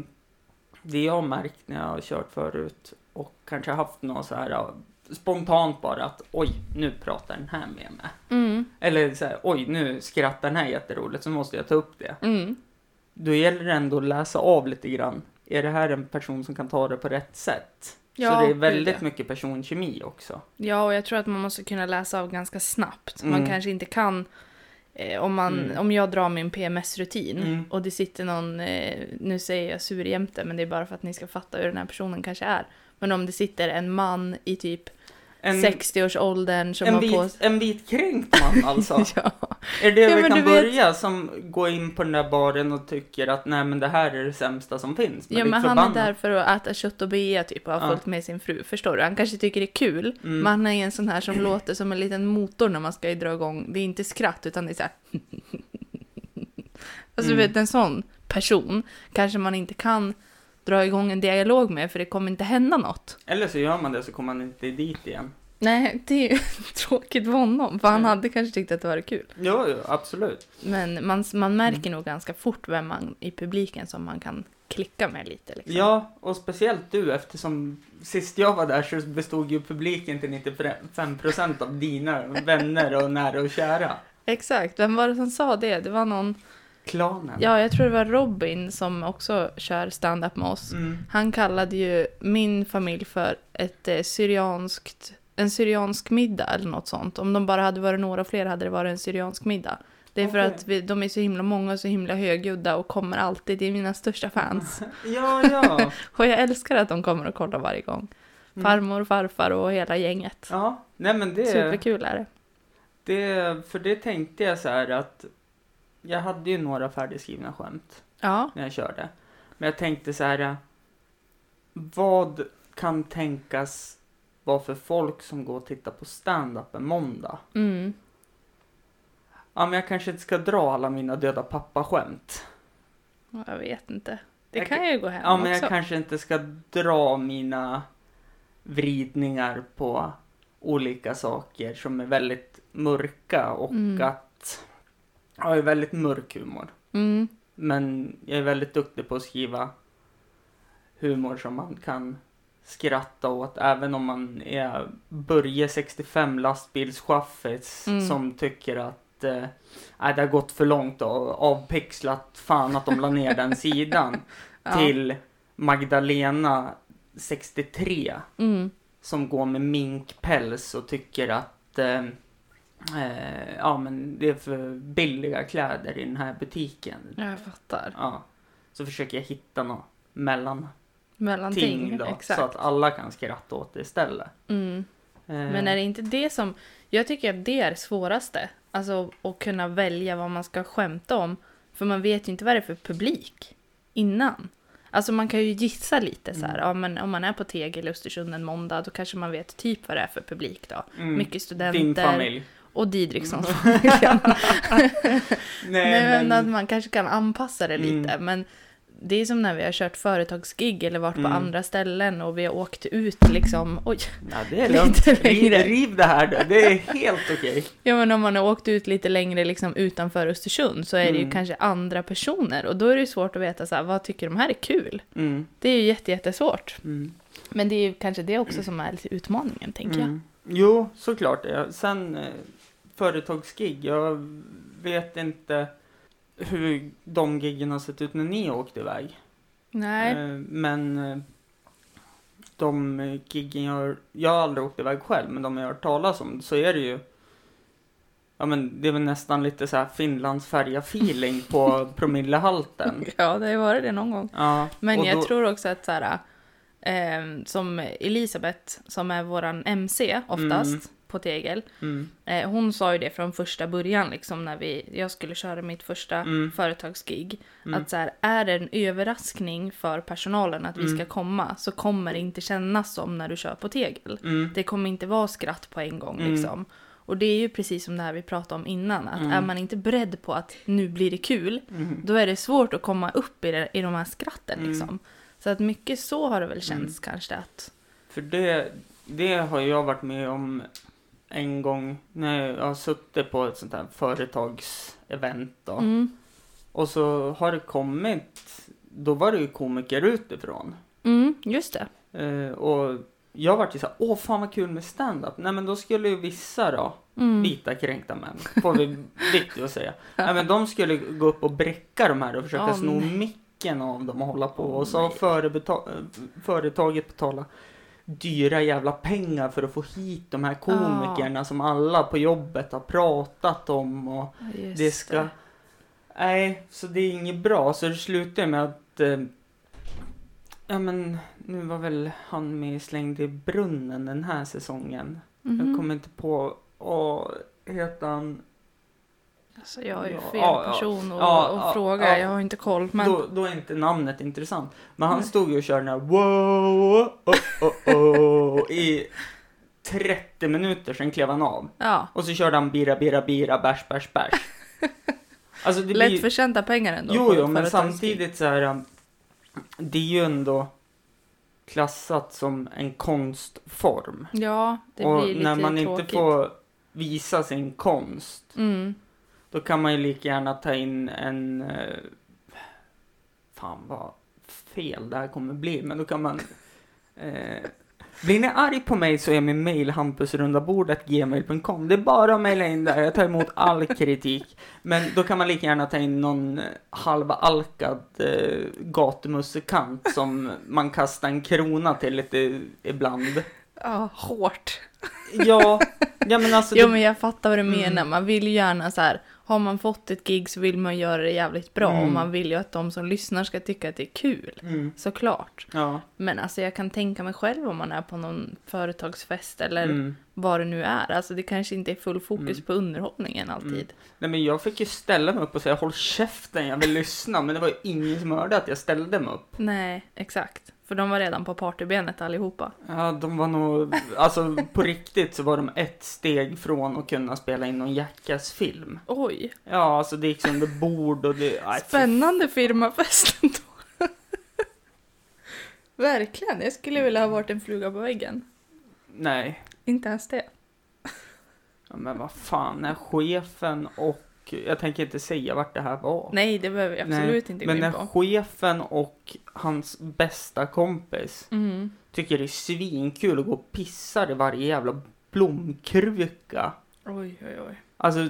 S1: det jag har märkt när jag har kört förut och kanske haft någon så här ja, spontant bara att oj, nu pratar den här med mig.
S2: Mm.
S1: Eller så här, oj, nu skrattar den här jätteroligt så måste jag ta upp det.
S2: Mm.
S1: Då gäller det ändå att läsa av lite grann. Är det här en person som kan ta det på rätt sätt?
S2: Ja,
S1: så det är
S2: gud,
S1: väldigt
S2: ja.
S1: mycket personkemi också.
S2: Ja, och jag tror att man måste kunna läsa av ganska snabbt. Man
S1: Mm.
S2: kanske inte kan, eh, om, man,
S1: Mm.
S2: om jag drar min PMS-rutin
S1: Mm.
S2: och det sitter någon, eh, nu säger jag surjämte, men det är bara för att ni ska fatta hur den här personen kanske är. Men om det sitter en man i typ
S1: En,
S2: 60-årsåldern som
S1: en,
S2: har
S1: vit,
S2: på
S1: en vitkränkt man alltså.
S2: Ja.
S1: Är det
S2: Ja,
S1: vi
S2: men
S1: kan
S2: du vet-
S1: börja som går in på den där baren och tycker att nej men det här är det sämsta som finns?
S2: ja,
S1: det
S2: men han
S1: förbannat.
S2: är där för att äta kött och bea typ och har
S1: Ja.
S2: följt med sin fru, förstår du? Han kanske tycker det är kul,
S1: Mm.
S2: men han är en sån här som låter som en liten motor när man ska dra igång. Det är inte skratt, utan det är så här... alltså du
S1: Mm.
S2: vet, en sån person kanske man inte kan dra igång en dialog med, för det kommer inte hända något.
S1: Eller så gör man det så kommer han inte dit igen.
S2: Nej, det är ju tråkigt för honom, för han
S1: Mm.
S2: hade kanske tyckt att det var kul. Mm.
S1: Ja, ja absolut.
S2: Men man, man märker nog ganska fort vem man i publiken som man kan klicka med lite. Liksom.
S1: Ja, och speciellt du eftersom sist jag var där så bestod ju publiken till 95% av dina vänner och nära och kära.
S2: Exakt, vem var det som sa det? Det var någon,
S1: Klanen.
S2: ja jag tror det var Robin som också kör stand-up med oss.
S1: Mm.
S2: Han kallade ju min familj för ett eh, syrianskt, en syriansk middag eller något sånt. Om de bara hade varit några fler hade det varit en syriansk middag. Det är för
S1: Okej.
S2: att vi, de är så himla många och så himla högljudda och kommer alltid. Det är mina största fans.
S1: Ja, ja.
S2: Och jag älskar att de kommer och kollar varje gång.
S1: Mm.
S2: Farmor, farfar och hela gänget.
S1: Ja, nej men det...
S2: Superkul är det.
S1: Det, för det tänkte jag så här att jag hade ju några färdigskrivna skämt
S2: Ja,
S1: när jag körde. Men jag tänkte så här. äh, Vad kan tänkas vara för folk som går och tittar på stand-up en måndag?
S2: mm.
S1: Ja, men jag kanske inte ska dra alla mina döda pappa-skämt.
S2: jag vet inte. Det
S1: Jag
S2: kan
S1: kan-
S2: ju gå hem
S1: Ja, men
S2: också.
S1: jag kanske inte ska dra mina vridningar på olika saker som är väldigt mörka och
S2: Mm.
S1: att jag är väldigt mörk humor.
S2: Mm.
S1: Men jag är väldigt duktig på att skriva humor som man kan skratta åt även om man är Börje 65 lastbilschaffis
S2: Mm.
S1: som tycker att eh, nej, det har gått för långt och avpixlat fan att de la ner den sidan
S2: Ja.
S1: till Magdalena 63
S2: Mm.
S1: som går med minkpäls och tycker att eh, eh, ja, men det är för billiga kläder i den här butiken.
S2: Jag fattar.
S1: Ja. Så försöker jag hitta något mellanting
S2: Mellanting.
S1: då,
S2: Exakt.
S1: så att alla kan skratta åt det istället.
S2: Mm.
S1: Eh,
S2: Men är det inte det som... Jag tycker att det är det svåraste. Alltså att kunna välja vad man ska skämta om. För man vet ju inte vad det är för publik innan. Alltså man kan ju gissa lite så här.
S1: Mm.
S2: Ja, men om man är på Tegel i Östersund en måndag då kanske man vet typ vad det är för publik då.
S1: mm,
S2: Mycket
S1: Din
S2: studenter
S1: familj.
S2: och Didrikssons
S1: Mm.
S2: familj.
S1: Nej,
S2: Nej, men att
S1: men,
S2: man kanske kan anpassa det lite.
S1: Mm.
S2: Men det är som när vi har kört företagsgig eller varit
S1: Mm.
S2: på andra ställen och vi har åkt ut liksom. Oj,
S1: nej, det är
S2: lite
S1: lugnt. Riv,
S2: längre.
S1: riv det här du. Det är helt okej.
S2: Ja men om man har åkt ut lite längre liksom utanför Östersund så är det ju
S1: Mm.
S2: kanske andra personer och då är det ju svårt att veta så här, vad tycker de här är kul?
S1: Mm,
S2: Det är ju jätte, jättesvårt.
S1: mm.
S2: Men det är ju kanske det också som är lite utmaningen tänker jag.
S1: Mm. Jo, såklart. Ja. Sen eh, företagsgig, jag vet inte hur de giggen har sett ut när ni åkte iväg.
S2: Nej.
S1: Eh, Men eh, de eh, giggen jag, jag har aldrig åkt iväg själv, men de jag har hört talas om, så är det ju Ja men det är väl nästan lite så här Finlands feeling på promillehalten.
S2: Ja det har ju varit det någon gång.
S1: Ja,
S2: Men
S1: och
S2: jag
S1: då-
S2: tror också att så här, eh, som Elisabeth som är våran MC oftast
S1: Mm.
S2: på Tegel.
S1: Mm,
S2: Eh, hon sa ju det från första början liksom när vi, jag skulle köra mitt första
S1: Mm.
S2: företagsgig.
S1: Mm.
S2: Att så här, är det en överraskning för personalen att vi
S1: Mm.
S2: ska komma så kommer det inte kännas som när du kör på tegel.
S1: mm,
S2: Det kommer inte vara skratt på en gång
S1: Mm.
S2: liksom. Och det är ju precis som det här vi pratade om innan, att
S1: Mm.
S2: är man inte beredd på att nu blir det kul,
S1: mm,
S2: då är det svårt att komma upp i, det, i de här skratten
S1: Mm.
S2: liksom. Så att mycket så har det väl känts kanske att,
S1: För det, det har jag varit med om en gång när jag har suttit på ett sånt här företagsevent då.
S2: mm,
S1: Och så har det kommit, då var det ju komiker utifrån.
S2: mm, just det.
S1: Eh, och jag vart ju såhär, åh fan vad kul med stand-up. Nej men då skulle ju vissa då,
S2: Mm.
S1: vita kränkta män, får vi viktigt att säga. Nej men de skulle gå upp och bräcka de här och försöka
S2: Åh,
S1: sno
S2: nej.
S1: micken av dem och hålla på.
S2: Åh,
S1: och så har
S2: nej.
S1: förebeta- eh, företaget betala dyra jävla pengar för att få hit de
S2: Ah.
S1: här komikerna som alla på jobbet har pratat om. Och
S2: Just
S1: det ska... Nej, så det är inget bra. Så det slutar med att... Eh, ja, men nu var väl han med i Slängd i brunnen den här säsongen.
S2: Mhm.
S1: Jag kommer inte på... Åh, heter han...
S2: Alltså jag är ju
S1: Ja,
S2: fel
S1: ja,
S2: person att
S1: ja,
S2: och
S1: ja,
S2: fråga,
S1: ja.
S2: jag har inte koll. Men
S1: Då, då är inte namnet intressant. Men han
S2: Nej.
S1: stod ju och körde den här wow, oh, oh, oh, i 30 minuter, sen klev han av.
S2: ja,
S1: Och så körde han bira, bira, bira, bärs, bärs, bärs. Alltså det blir-
S2: lätt förtjänta pengar ändå.
S1: Jo,
S2: på
S1: jo, men
S2: företagsgig.
S1: samtidigt så här. um, Det är ju ändå klassat som en konstform.
S2: Ja, det
S1: och
S2: blir lite
S1: när man
S2: tråkigt.
S1: inte får visa sin konst,
S2: Mm.
S1: då kan man ju lika gärna ta in en... eh, Fan vad fel det här kommer bli, men då kan man... Eh, blir ni arg på mig så är min mail hampusrundabordet.gmail.com. Det är bara att mejla in där, jag tar emot all kritik. Men då kan man lika gärna ta in någon halvalkad eh, gatumusikant som man kastar en krona till lite ibland.
S2: Ja, hårt.
S1: Ja, ja men alltså...
S2: jo,
S1: det-
S2: men jag fattar vad du
S1: Mm.
S2: menar. Man vill ju gärna så här, har man fått ett gig så vill man göra det jävligt bra och
S1: Mm.
S2: man vill ju att de som lyssnar ska tycka att det är kul.
S1: Mm,
S2: Såklart.
S1: ja.
S2: Men alltså jag kan tänka mig själv om man är på någon företagsfest eller
S1: Mm.
S2: vad det nu är. Alltså det kanske inte är full fokus
S1: Mm.
S2: på underhållningen alltid.
S1: Nej men jag fick ju ställa mig upp och säga håll käften jag vill lyssna men det var ju ingen som hörde att jag ställde mig upp.
S2: Nej, exakt. För de var redan på partybenet allihopa.
S1: Ja de var nog, alltså på riktigt så var de ett steg från att kunna spela in någon Jackass film.
S2: Oj,
S1: Ja alltså det gick som under bord och det... aj, fy-
S2: spännande firmafest ändå. Verkligen, jag skulle vilja ha varit en fluga på väggen.
S1: Nej.
S2: Inte ens det.
S1: Ja, men vad fan, när chefen och... Jag tänker inte säga vart det här var.
S2: Nej, det behöver vi
S1: Nej,
S2: absolut inte gå
S1: Men
S2: in
S1: när
S2: på.
S1: chefen och hans bästa kompis
S2: Mm.
S1: tycker det är svinkul att gå och pissa i varje jävla blomkruka.
S2: Oj, oj, oj.
S1: Alltså,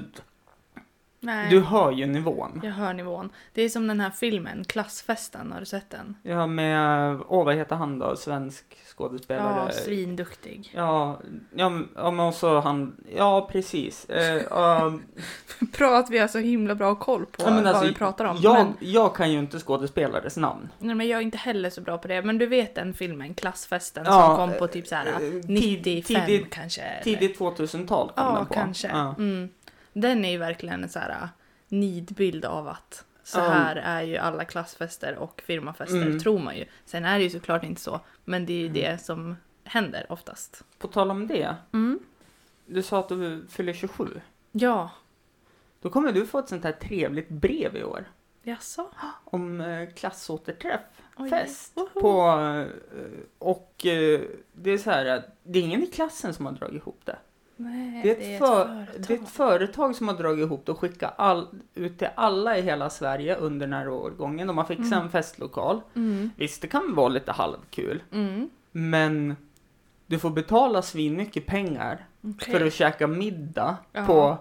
S2: Nej,
S1: du hör ju nivån.
S2: jag hör nivån. Det är som den här filmen, Klassfesten, har du sett den?
S1: Ja, med... Åh, vad heter han då? Svensk skådespelare.
S2: Ja, svinduktig.
S1: Ja, ja, men- ja, men också han, ja precis. Eh, ehm,
S2: Bra att vi har så himla bra koll på
S1: ja, men
S2: vad
S1: alltså,
S2: vi pratar om.
S1: Jag,
S2: Men,
S1: jag kan ju inte skådespelares namn.
S2: nej, men jag är inte heller så bra på det. Men du vet den filmen, Klassfesten,
S1: Ja,
S2: som kom på typ så här
S1: eh, tid-
S2: 95
S1: tidigt-
S2: kanske? eller?
S1: Tidigt 2000-tal kom
S2: Ja,
S1: den på.
S2: kanske.
S1: Ja.
S2: Mm. Den är ju verkligen en så här äh, nidbild av att så
S1: Ja.
S2: här är ju alla klassfester och firmafester,
S1: Mm.
S2: tror man ju. Sen är det ju såklart inte så, men det är ju det som händer oftast.
S1: På tal om det,
S2: Mm.
S1: du sa att du fyller 27.
S2: Ja,
S1: Då kommer du få ett sånt här trevligt brev i år.
S2: jaså?
S1: Om eh, klassåterträff,
S2: Oj.
S1: fest.
S2: Woho.
S1: På, eh, och eh, det är så här att det är ingen i klassen som har dragit ihop det.
S2: Nej,
S1: Det är, ett för,
S2: företag.
S1: det är ett företag som har dragit ihop det och skickat all, ut till alla i hela Sverige under den här årgången. De har fixat en festlokal.
S2: Mm.
S1: Visst, det kan vara lite halvkul,
S2: Mm.
S1: men du får betala svinmycket pengar
S2: Okej.
S1: för att käka middag
S2: Ja.
S1: på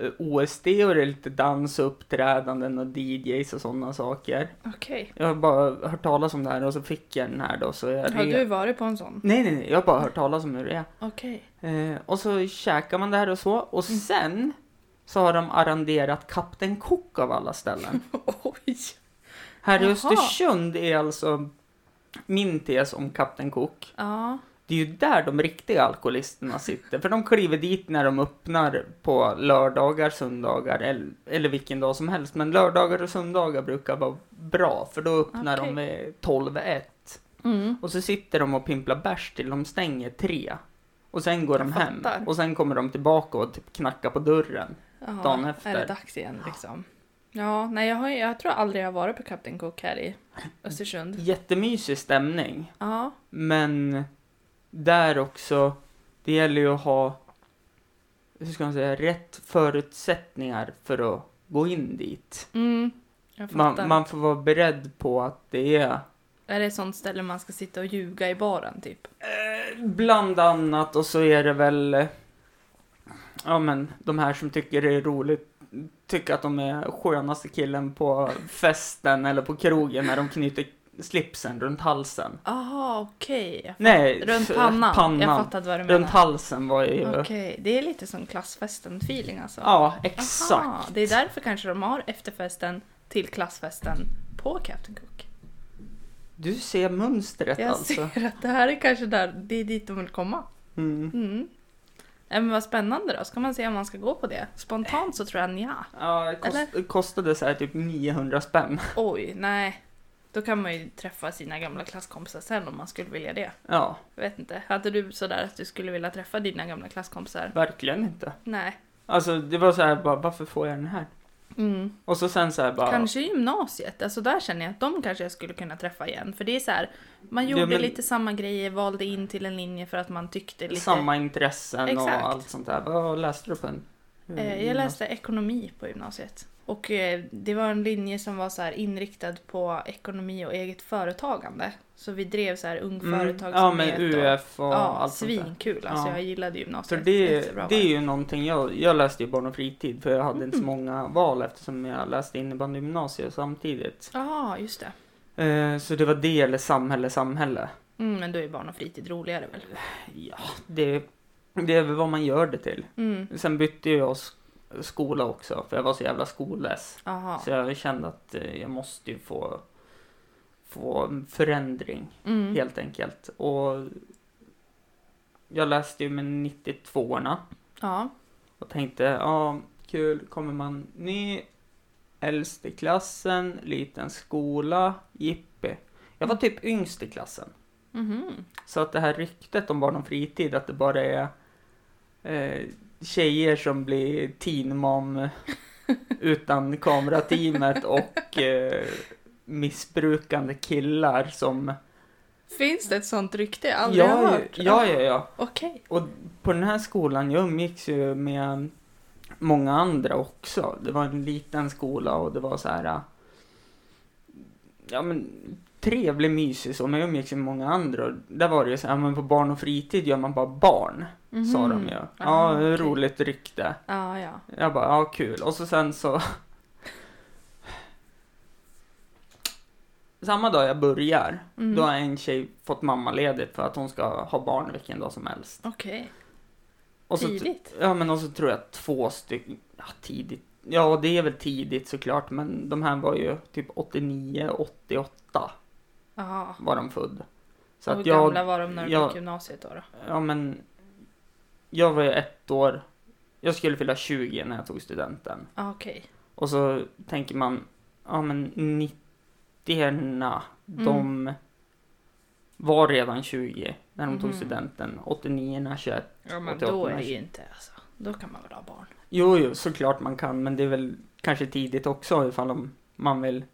S1: eh, OSD och det är lite dans och uppträdanden och DJs och sådana saker.
S2: Okej.
S1: Jag har bara hört talas om det här och så fick jag den här då så jag
S2: Har
S1: re-
S2: du varit på en sån?
S1: Nej, nej, nej, jag har bara hört talas om hur det är.
S2: Okej.
S1: Eh, och så käkar man det här och så. Och
S2: Mm.
S1: sen så har de arrenderat Kapten Kock av alla ställen.
S2: Oj!
S1: här i
S2: Jaha.
S1: Östersund är alltså min tes om Kapten Kock.
S2: Ja,
S1: Det är ju där de riktiga alkoholisterna sitter. För de kliver dit när de öppnar på lördagar, söndagar eller, eller vilken dag som helst. Men lördagar och söndagar brukar vara bra för då öppnar
S2: Okej.
S1: de vid 12-1.
S2: mm.
S1: Och så sitter de och pimplar bärs till de stänger tre. Och sen går de
S2: Jag
S1: hem.
S2: fattar.
S1: Och sen kommer de tillbaka och typ knackar på dörren.
S2: ja.
S1: Dagen efter.
S2: Är det dags igen liksom? Ja, nej jag, har, jag tror aldrig jag har varit på Captain Cook här i Östersund.
S1: Jättemysig stämning.
S2: Ja.
S1: Men där också, det gäller ju att ha, hur ska man säga, rätt förutsättningar för att gå in dit.
S2: Mm, jag fattar.
S1: Man, man får vara beredd på att det är
S2: Är det ett sånt ställe man ska sitta och ljuga i baren typ?
S1: Eh, Bland annat och så är det väl eh, Ja men de här som tycker det är roligt Tycker att de är skönaste killen på festen eller på krogen när de knyter slipsen runt halsen
S2: Jaha, okej.
S1: Nej,
S2: Runt
S1: f-
S2: pannan. Jag
S1: pannan.
S2: fattade vad du
S1: Runt
S2: menade.
S1: halsen var ju
S2: Okej, det är lite som klassfesten-feeling alltså.
S1: Ja,
S2: Aha,
S1: exakt
S2: det är därför kanske de har efterfesten till klassfesten på Captain Cook.
S1: Du ser mönstret
S2: Jag
S1: alltså
S2: ser att det här är kanske där, det är dit de vill komma.
S1: mm.
S2: Mm. Ja, men vad spännande då, ska man se om man ska gå på det? Spontant så tror jag ja.
S1: Ja, det kost, kostade så här typ 900 spänn
S2: Oj, nej. Då kan man ju träffa sina gamla klasskompisar sen om man skulle vilja det.
S1: Ja,
S2: Jag vet inte. Hade du sådär att du skulle vilja träffa dina gamla klasskompisar?
S1: verkligen inte
S2: Nej.
S1: Alltså det var så här bara, varför får jag den här?
S2: Mm.
S1: Och så sen så här bara
S2: Kanske i gymnasiet. Alltså där känner jag att de kanske jag skulle kunna träffa igen. För det är så här, man
S1: Ja,
S2: gjorde
S1: men-
S2: lite samma grejer, valde in till en linje för att man tyckte lite.
S1: samma intressen
S2: Exakt.
S1: och allt sånt där. Vad läste du på en?
S2: Eh, jag läste ekonomi på gymnasiet. Och eh, det var en linje som var så här inriktad på ekonomi och eget företagande. Så vi drev så här ung
S1: Mm, Ja,
S2: företagsamhet.
S1: men
S2: och-
S1: UF och
S2: Ja,
S1: allt sånt där.
S2: svinkul. Alltså
S1: Ja.
S2: jag gillade
S1: Så
S2: gymnasiet.
S1: det,
S2: Jättebra var
S1: det är ju någonting jag, jag läste ju barn och fritid för jag hade inte så
S2: Mm.
S1: många val eftersom jag läste innebandygymnasiet samtidigt.
S2: Ja, just det.
S1: Eh, så det var det eller samhälle, samhälle.
S2: Mm, men då är barn och fritid roligare väl?
S1: Ja, det, det är väl vad man gör det till.
S2: Mm.
S1: Sen bytte jag sk- skola också för jag var så jävla skolless.
S2: Aha.
S1: Så jag kände att eh, jag måste ju få, få en förändring.
S2: Mm.
S1: helt enkelt. Och jag läste ju med 92orna
S2: Ja.
S1: och tänkte, ja, kul, kommer man ny, äldst i klassen, liten skola, jippi. Jag var typ yngst i klassen.
S2: Mhm.
S1: Så att det här ryktet om barn och fritid, att det bara är eh, tjejer som blir teen mom utan kamerateamet och eh, missbrukande killar som
S2: Finns det ett sånt rykte? Jag aldrig har
S1: Ja,
S2: hört. Ah,
S1: ja, ja, ja.
S2: Okej.
S1: Och på den här skolan, jag umgicks ju med många andra också. Det var en liten skola och det var så här... äh, Ja, men trevlig, mysig så, men jag umgicks med många andra. Och där var det ju så här, men på barn och fritid gör man bara barn, sa de
S2: Mhm.
S1: ju. Ja,
S2: Ah, okej.
S1: roligt rykte.
S2: Ja, ja.
S1: Jag bara, ja kul. Och så sen så... Samma dag jag börjar,
S2: Mm.
S1: då har en tjej fått mammaledigt för att hon ska ha barn vilken dag som helst.
S2: Okej.
S1: Och så,
S2: Tidigt.
S1: Ja, men och så tror jag två stycken... Ja, tidigt. Ja, det är väl tidigt såklart, men de här var ju typ 89, 88
S2: Jaha.
S1: var de född. Så
S2: Och Hur
S1: att jag...
S2: gamla var de när du
S1: jag-
S2: gick gymnasiet då? då?
S1: Ja, men... Jag var ju ett år... Jag skulle fylla 20 när jag tog studenten.
S2: Ah, Okej.
S1: Och så tänker man, ja men 90-erna,
S2: Mm.
S1: de var redan 20 när de tog
S2: Mhm.
S1: studenten. 89-erna 21.
S2: Ja, men
S1: 88,
S2: då är det
S1: 90.
S2: ju inte alltså. Då kan man väl ha barn?
S1: Jo, jo, såklart man kan, men det är väl kanske tidigt också ifall om man vill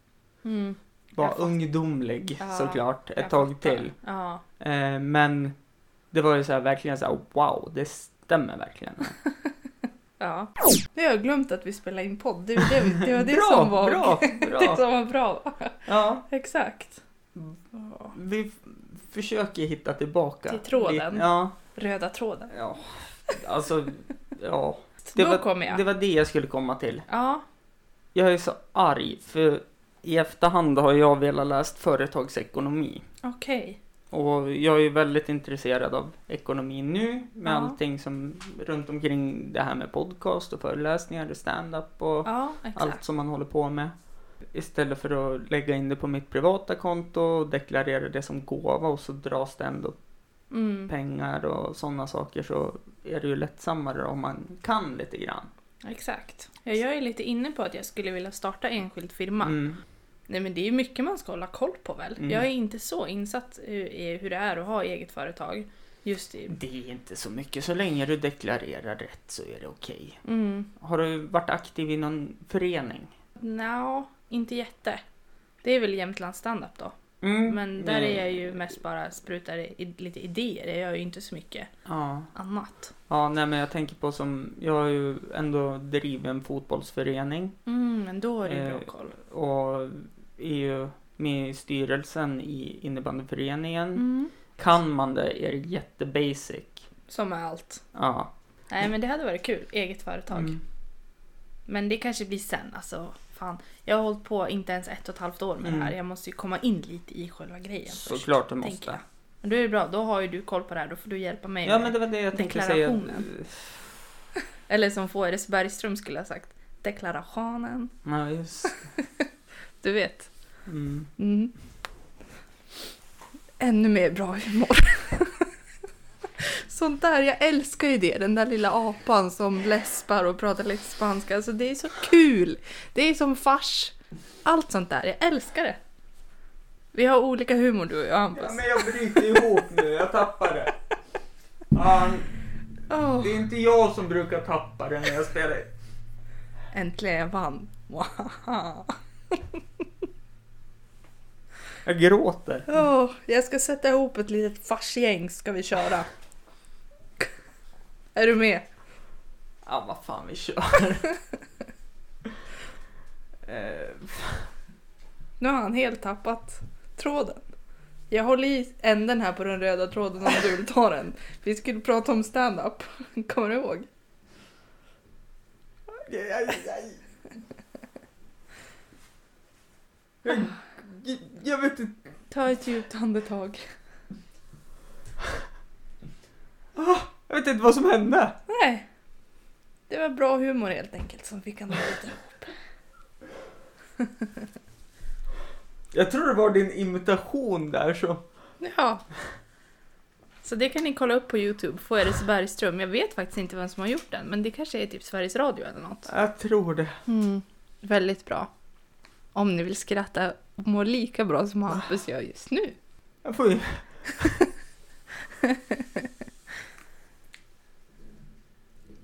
S2: Mm.
S1: vara
S2: Jag fattar.
S1: ungdomlig
S2: Ja,
S1: såklart ett
S2: jag
S1: tag
S2: fattar.
S1: till.
S2: Ja.
S1: Eh, men det var ju så här, verkligen så här, wow, det stämmer verkligen.
S2: Ja. Nu har jag glömt att vi spelade in podd. Det var det, vi- det, var det
S1: bra,
S2: som var
S1: bra,
S2: Det
S1: bra!
S2: som var bra.
S1: Ja,
S2: Exakt.
S1: vi f- försöker hitta tillbaka.
S2: Till tråden.
S1: Vi- Ja,
S2: Röda tråden.
S1: Ja, alltså, ja.
S2: då kommer jag.
S1: det var det jag skulle komma till.
S2: Ja.
S1: Jag är så arg, för i efterhand har jag velat läst företagsekonomi.
S2: Okej.
S1: Och jag är ju väldigt intresserad av ekonomi nu med
S2: Ja.
S1: allting som runt omkring det här med podcast och föreläsningar och stand-up och
S2: Ja, exakt.
S1: allt som man håller på med. Istället för att lägga in det på mitt privata konto och deklarera det som gåva och så dras det ändå
S2: Mm.
S1: pengar och sådana saker så är det ju lättsammare om man kan lite grann.
S2: Exakt. Ja, jag är lite inne på att jag skulle vilja starta enskild firma.
S1: Mm.
S2: Nej men det är ju mycket man ska hålla koll på väl?
S1: Mm.
S2: Jag är inte så insatt i i hur det är att ha eget företag. Just i...
S1: Det är inte så mycket, så länge du deklarerar rätt så är det okej.
S2: Mm.
S1: Har du varit aktiv i någon förening?
S2: Nja, inte jätte. Det är väl Jämtlands standup då.
S1: Mm.
S2: Men där är
S1: Eh,
S2: jag ju mest bara sprutar i, lite idéer. Jag gör ju inte så mycket
S1: Ja.
S2: annat.
S1: ja, nej men jag tänker på som, jag har ju ändå drivit en fotbollsförening
S2: Mm, men då är det ju
S1: Eh,
S2: bra koll.
S1: och är ju med i styrelsen i innebandyföreningen.
S2: Mm.
S1: Kan man det är det jättebasic.
S2: Som är allt.
S1: Ja.
S2: Nej men det hade varit kul. Eget företag.
S1: Mm.
S2: Men det kanske blir sen. Alltså, fan. Jag har hållit på inte ens ett och ett halvt år med
S1: Mm.
S2: det här. Jag måste ju komma in lite i själva grejen först.
S1: Såklart du
S2: tänker
S1: måste.
S2: jag. Men då är det bra, då har ju du koll på det här. Då får du hjälpa mig.
S1: Ja
S2: med
S1: men det var det jag tänkte säga.
S2: Deklarationen. Eller som Fåres Bergström skulle ha sagt. Deklarationen.
S1: Ja, just.
S2: Du vet.
S1: Mm.
S2: Mm. Ännu mer bra humor. Sånt där, jag älskar ju det. Den där lilla apan som läspar och pratar lite spanska. Alltså det är så kul. Det är som fars. Allt sånt där, jag älskar det. Vi har olika humor du och jag Hampus.
S1: jag bryter ihop nu, jag tappar det.
S2: Åh,
S1: är inte jag som brukar tappa det när jag spelar.
S2: äntligen jag vann. Wahaha.
S1: Jag gråter.
S2: Åh, jag ska sätta ihop ett litet farsgäng ska vi köra. Är du med?
S1: Ja, vad fan vi kör. Eh,
S2: Nu har han helt tappat tråden. Jag håller i änden här på den röda tråden om du vill ta den. Vi skulle prata om stand-up. Kommer du ihåg?
S1: aj, aj, aj. Jag, jag vet inte.
S2: Ta ett djupt andetag.
S1: Ah, Jag vet inte vad som hände.
S2: Nej. Det var bra humor helt enkelt som fick honom lite.
S1: Jag tror det var din imitation där så.
S2: Ja. Så det kan ni kolla upp på Youtube, Fåeres Bergström. Jag vet faktiskt inte vem som har gjort den, men det kanske är typ Sveriges Radio eller något.
S1: Jag tror det.
S2: Mm. Väldigt bra. Om ni vill skratta och må lika bra som Hampus gör just nu.
S1: Jag får ju...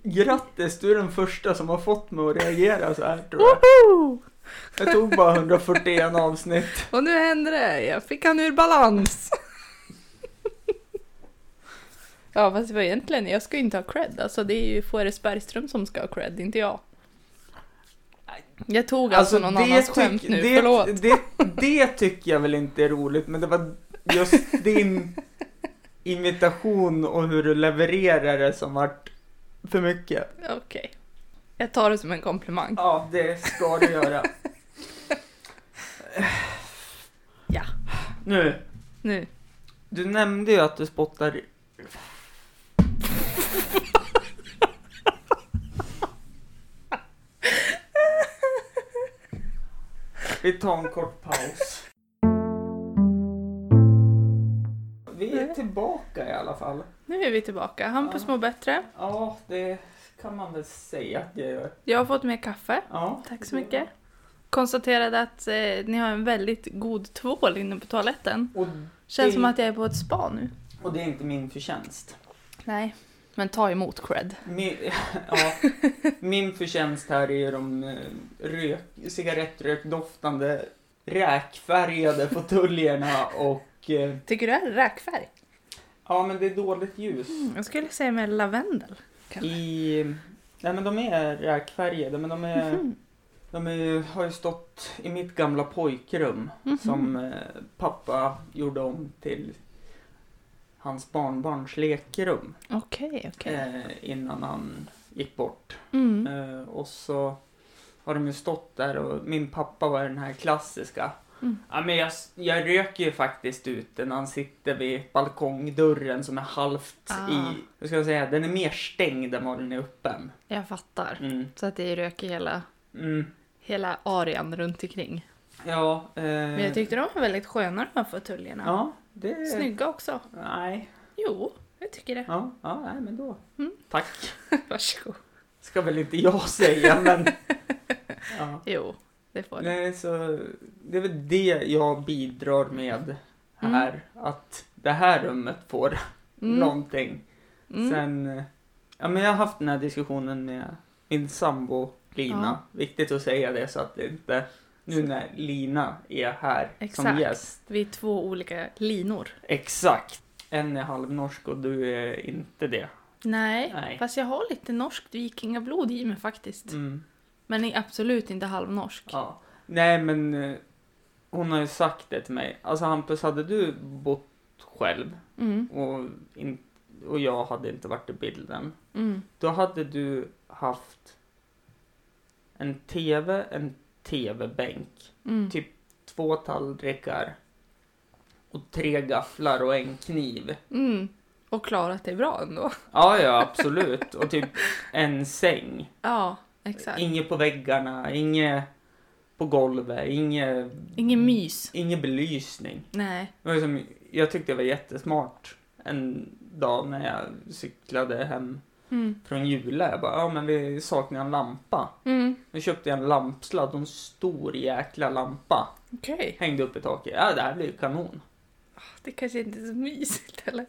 S1: Grattis, du är den första som har fått mig att reagera så här tror jag.
S2: Woho!
S1: Jag tog bara 141 avsnitt.
S2: Och nu händer det! Jag fick han ur balans! Ja, fast det var egentligen, jag ska ju inte ha cred. Alltså det är ju Fåres Bergström som ska ha cred, inte jag. Jag tog alltså, någon annans
S1: tyck-
S2: skämt nu,
S1: det,
S2: förlåt.
S1: Det, det tycker jag väl inte är roligt, men det var just din imitation och hur du levererar det som vart för mycket.
S2: Okej. Jag tar det som en komplimang.
S1: Ja, det ska du göra.
S2: Ja.
S1: Nu,
S2: Nu.
S1: du nämnde ju att du spottar... i- Vi tar en kort paus. Vi är tillbaka i alla fall.
S2: Nu är vi tillbaka. Hampus
S1: Ja.
S2: mår bättre.
S1: Ja, det kan man väl säga att jag gör.
S2: Jag har fått mer kaffe.
S1: Ja.
S2: Tack så mycket. Konstaterade att eh, ni har en väldigt god tvål inne på toaletten.
S1: Och,
S2: Känns
S1: Det-
S2: som att jag är på ett spa nu.
S1: och det är inte min förtjänst.
S2: Nej. Men ta emot cred.
S1: Min, ja, min förtjänst här är de eh, rök, cigarettrökdoftande räkfärgade fåtöljerna och eh,
S2: Tycker du det är räkfärg?
S1: ja men det är dåligt ljus.
S2: Mm, Jag skulle säga med lavendel. kanske.
S1: I, nej men de är räkfärgade men de, är,
S2: Mhm.
S1: de är, har ju stått i mitt gamla
S2: Mhm.
S1: pojkrum
S2: Mm-hmm.
S1: som eh, pappa gjorde om till hans barnbarns lekrum
S2: Okej, okej.
S1: eh, innan han gick bort.
S2: Mm.
S1: Eh, och så har de ju stått där och min pappa var den här klassiska.
S2: Mm.
S1: Ja, men jag, jag röker ju faktiskt ute när han sitter vid balkongdörren som är halvt
S2: Ah.
S1: i, hur ska jag säga, den är mer stängd än vad den är öppen.
S2: Jag fattar.
S1: Mm.
S2: Så att det är rök i hela,
S1: Mm.
S2: hela arean runt omkring.
S1: Ja, eh,
S2: Men jag tyckte de var väldigt sköna de här fåtöljerna.
S1: Ja, det...
S2: Snygga också.
S1: Nej,
S2: Jo, jag tycker det.
S1: ja, ja, nej men då.
S2: Mm.
S1: Tack.
S2: Varsågod.
S1: Ska väl inte jag säga men... ja.
S2: Jo, det får du.
S1: Nej, så det är väl det jag bidrar med
S2: Mm.
S1: här. Att det här rummet får någonting.
S2: Mm.
S1: Sen, eh, ja men jag har haft den här diskussionen med min sambo Lina. Viktigt att säga det så att det inte, nu när Lina är här som
S2: Exakt.
S1: gäst.
S2: Vi är två olika linor.
S1: Exakt. En är halvnorsk och du är inte det.
S2: Nej,
S1: Nej.
S2: fast jag har lite norskt vikingablod i mig faktiskt.
S1: Mm,
S2: Men är absolut inte halvnorsk.
S1: ja. Nej men eh, hon har ju sagt det till mig. Alltså Hampus, hade du bott själv
S2: Mm,
S1: och, in, och jag hade inte varit i bilden.
S2: mm,
S1: Då hade du haft en TV, en TV-bänk,
S2: mm.
S1: Typ. två tallrikar och tre gafflar och en kniv.
S2: Mm. Och klarat det bra ändå.
S1: Ja, ja, absolut. Och typ en säng.
S2: Ja, exakt.
S1: Inget på väggarna, inget på golvet, inget,
S2: Ingen mys.
S1: ingen belysning.
S2: Nej.
S1: Det var liksom, jag tyckte det var jättesmart en dag när jag cyklade hem
S2: Mm.
S1: från Jula. Jag bara, ja men vi saknar en lampa.
S2: Mm.
S1: Nu köpte jag en lampsladd och en stor jäkla lampa.
S2: Okej.
S1: Hängde upp i taket. Ja, det här blir ju kanon.
S2: Det kanske inte är så mysigt eller?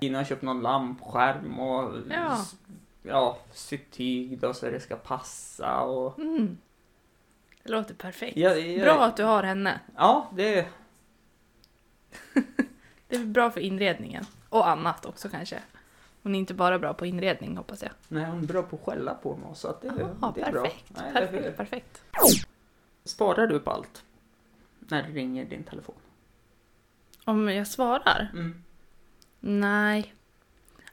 S1: Innan jag köpt någon lampskärm och
S2: Ja.
S1: s- ja, sytt tyg då så det ska passa och...
S2: Mm. Det låter perfekt.
S1: Ja, ja,
S2: Bra att du har henne.
S1: Ja, det...
S2: Det är bra för inredningen. Och annat också kanske. Hon är inte bara bra på inredning hoppas jag.
S1: Nej, hon är bra på att skälla på mig så att det,
S2: Aha,
S1: det är bra.
S2: perfekt.
S1: Nej, det är
S2: perfekt,
S1: bra.
S2: perfekt.
S1: Sparar du på allt? När det ringer din telefon?
S2: Om jag svarar?
S1: Mm.
S2: Nej.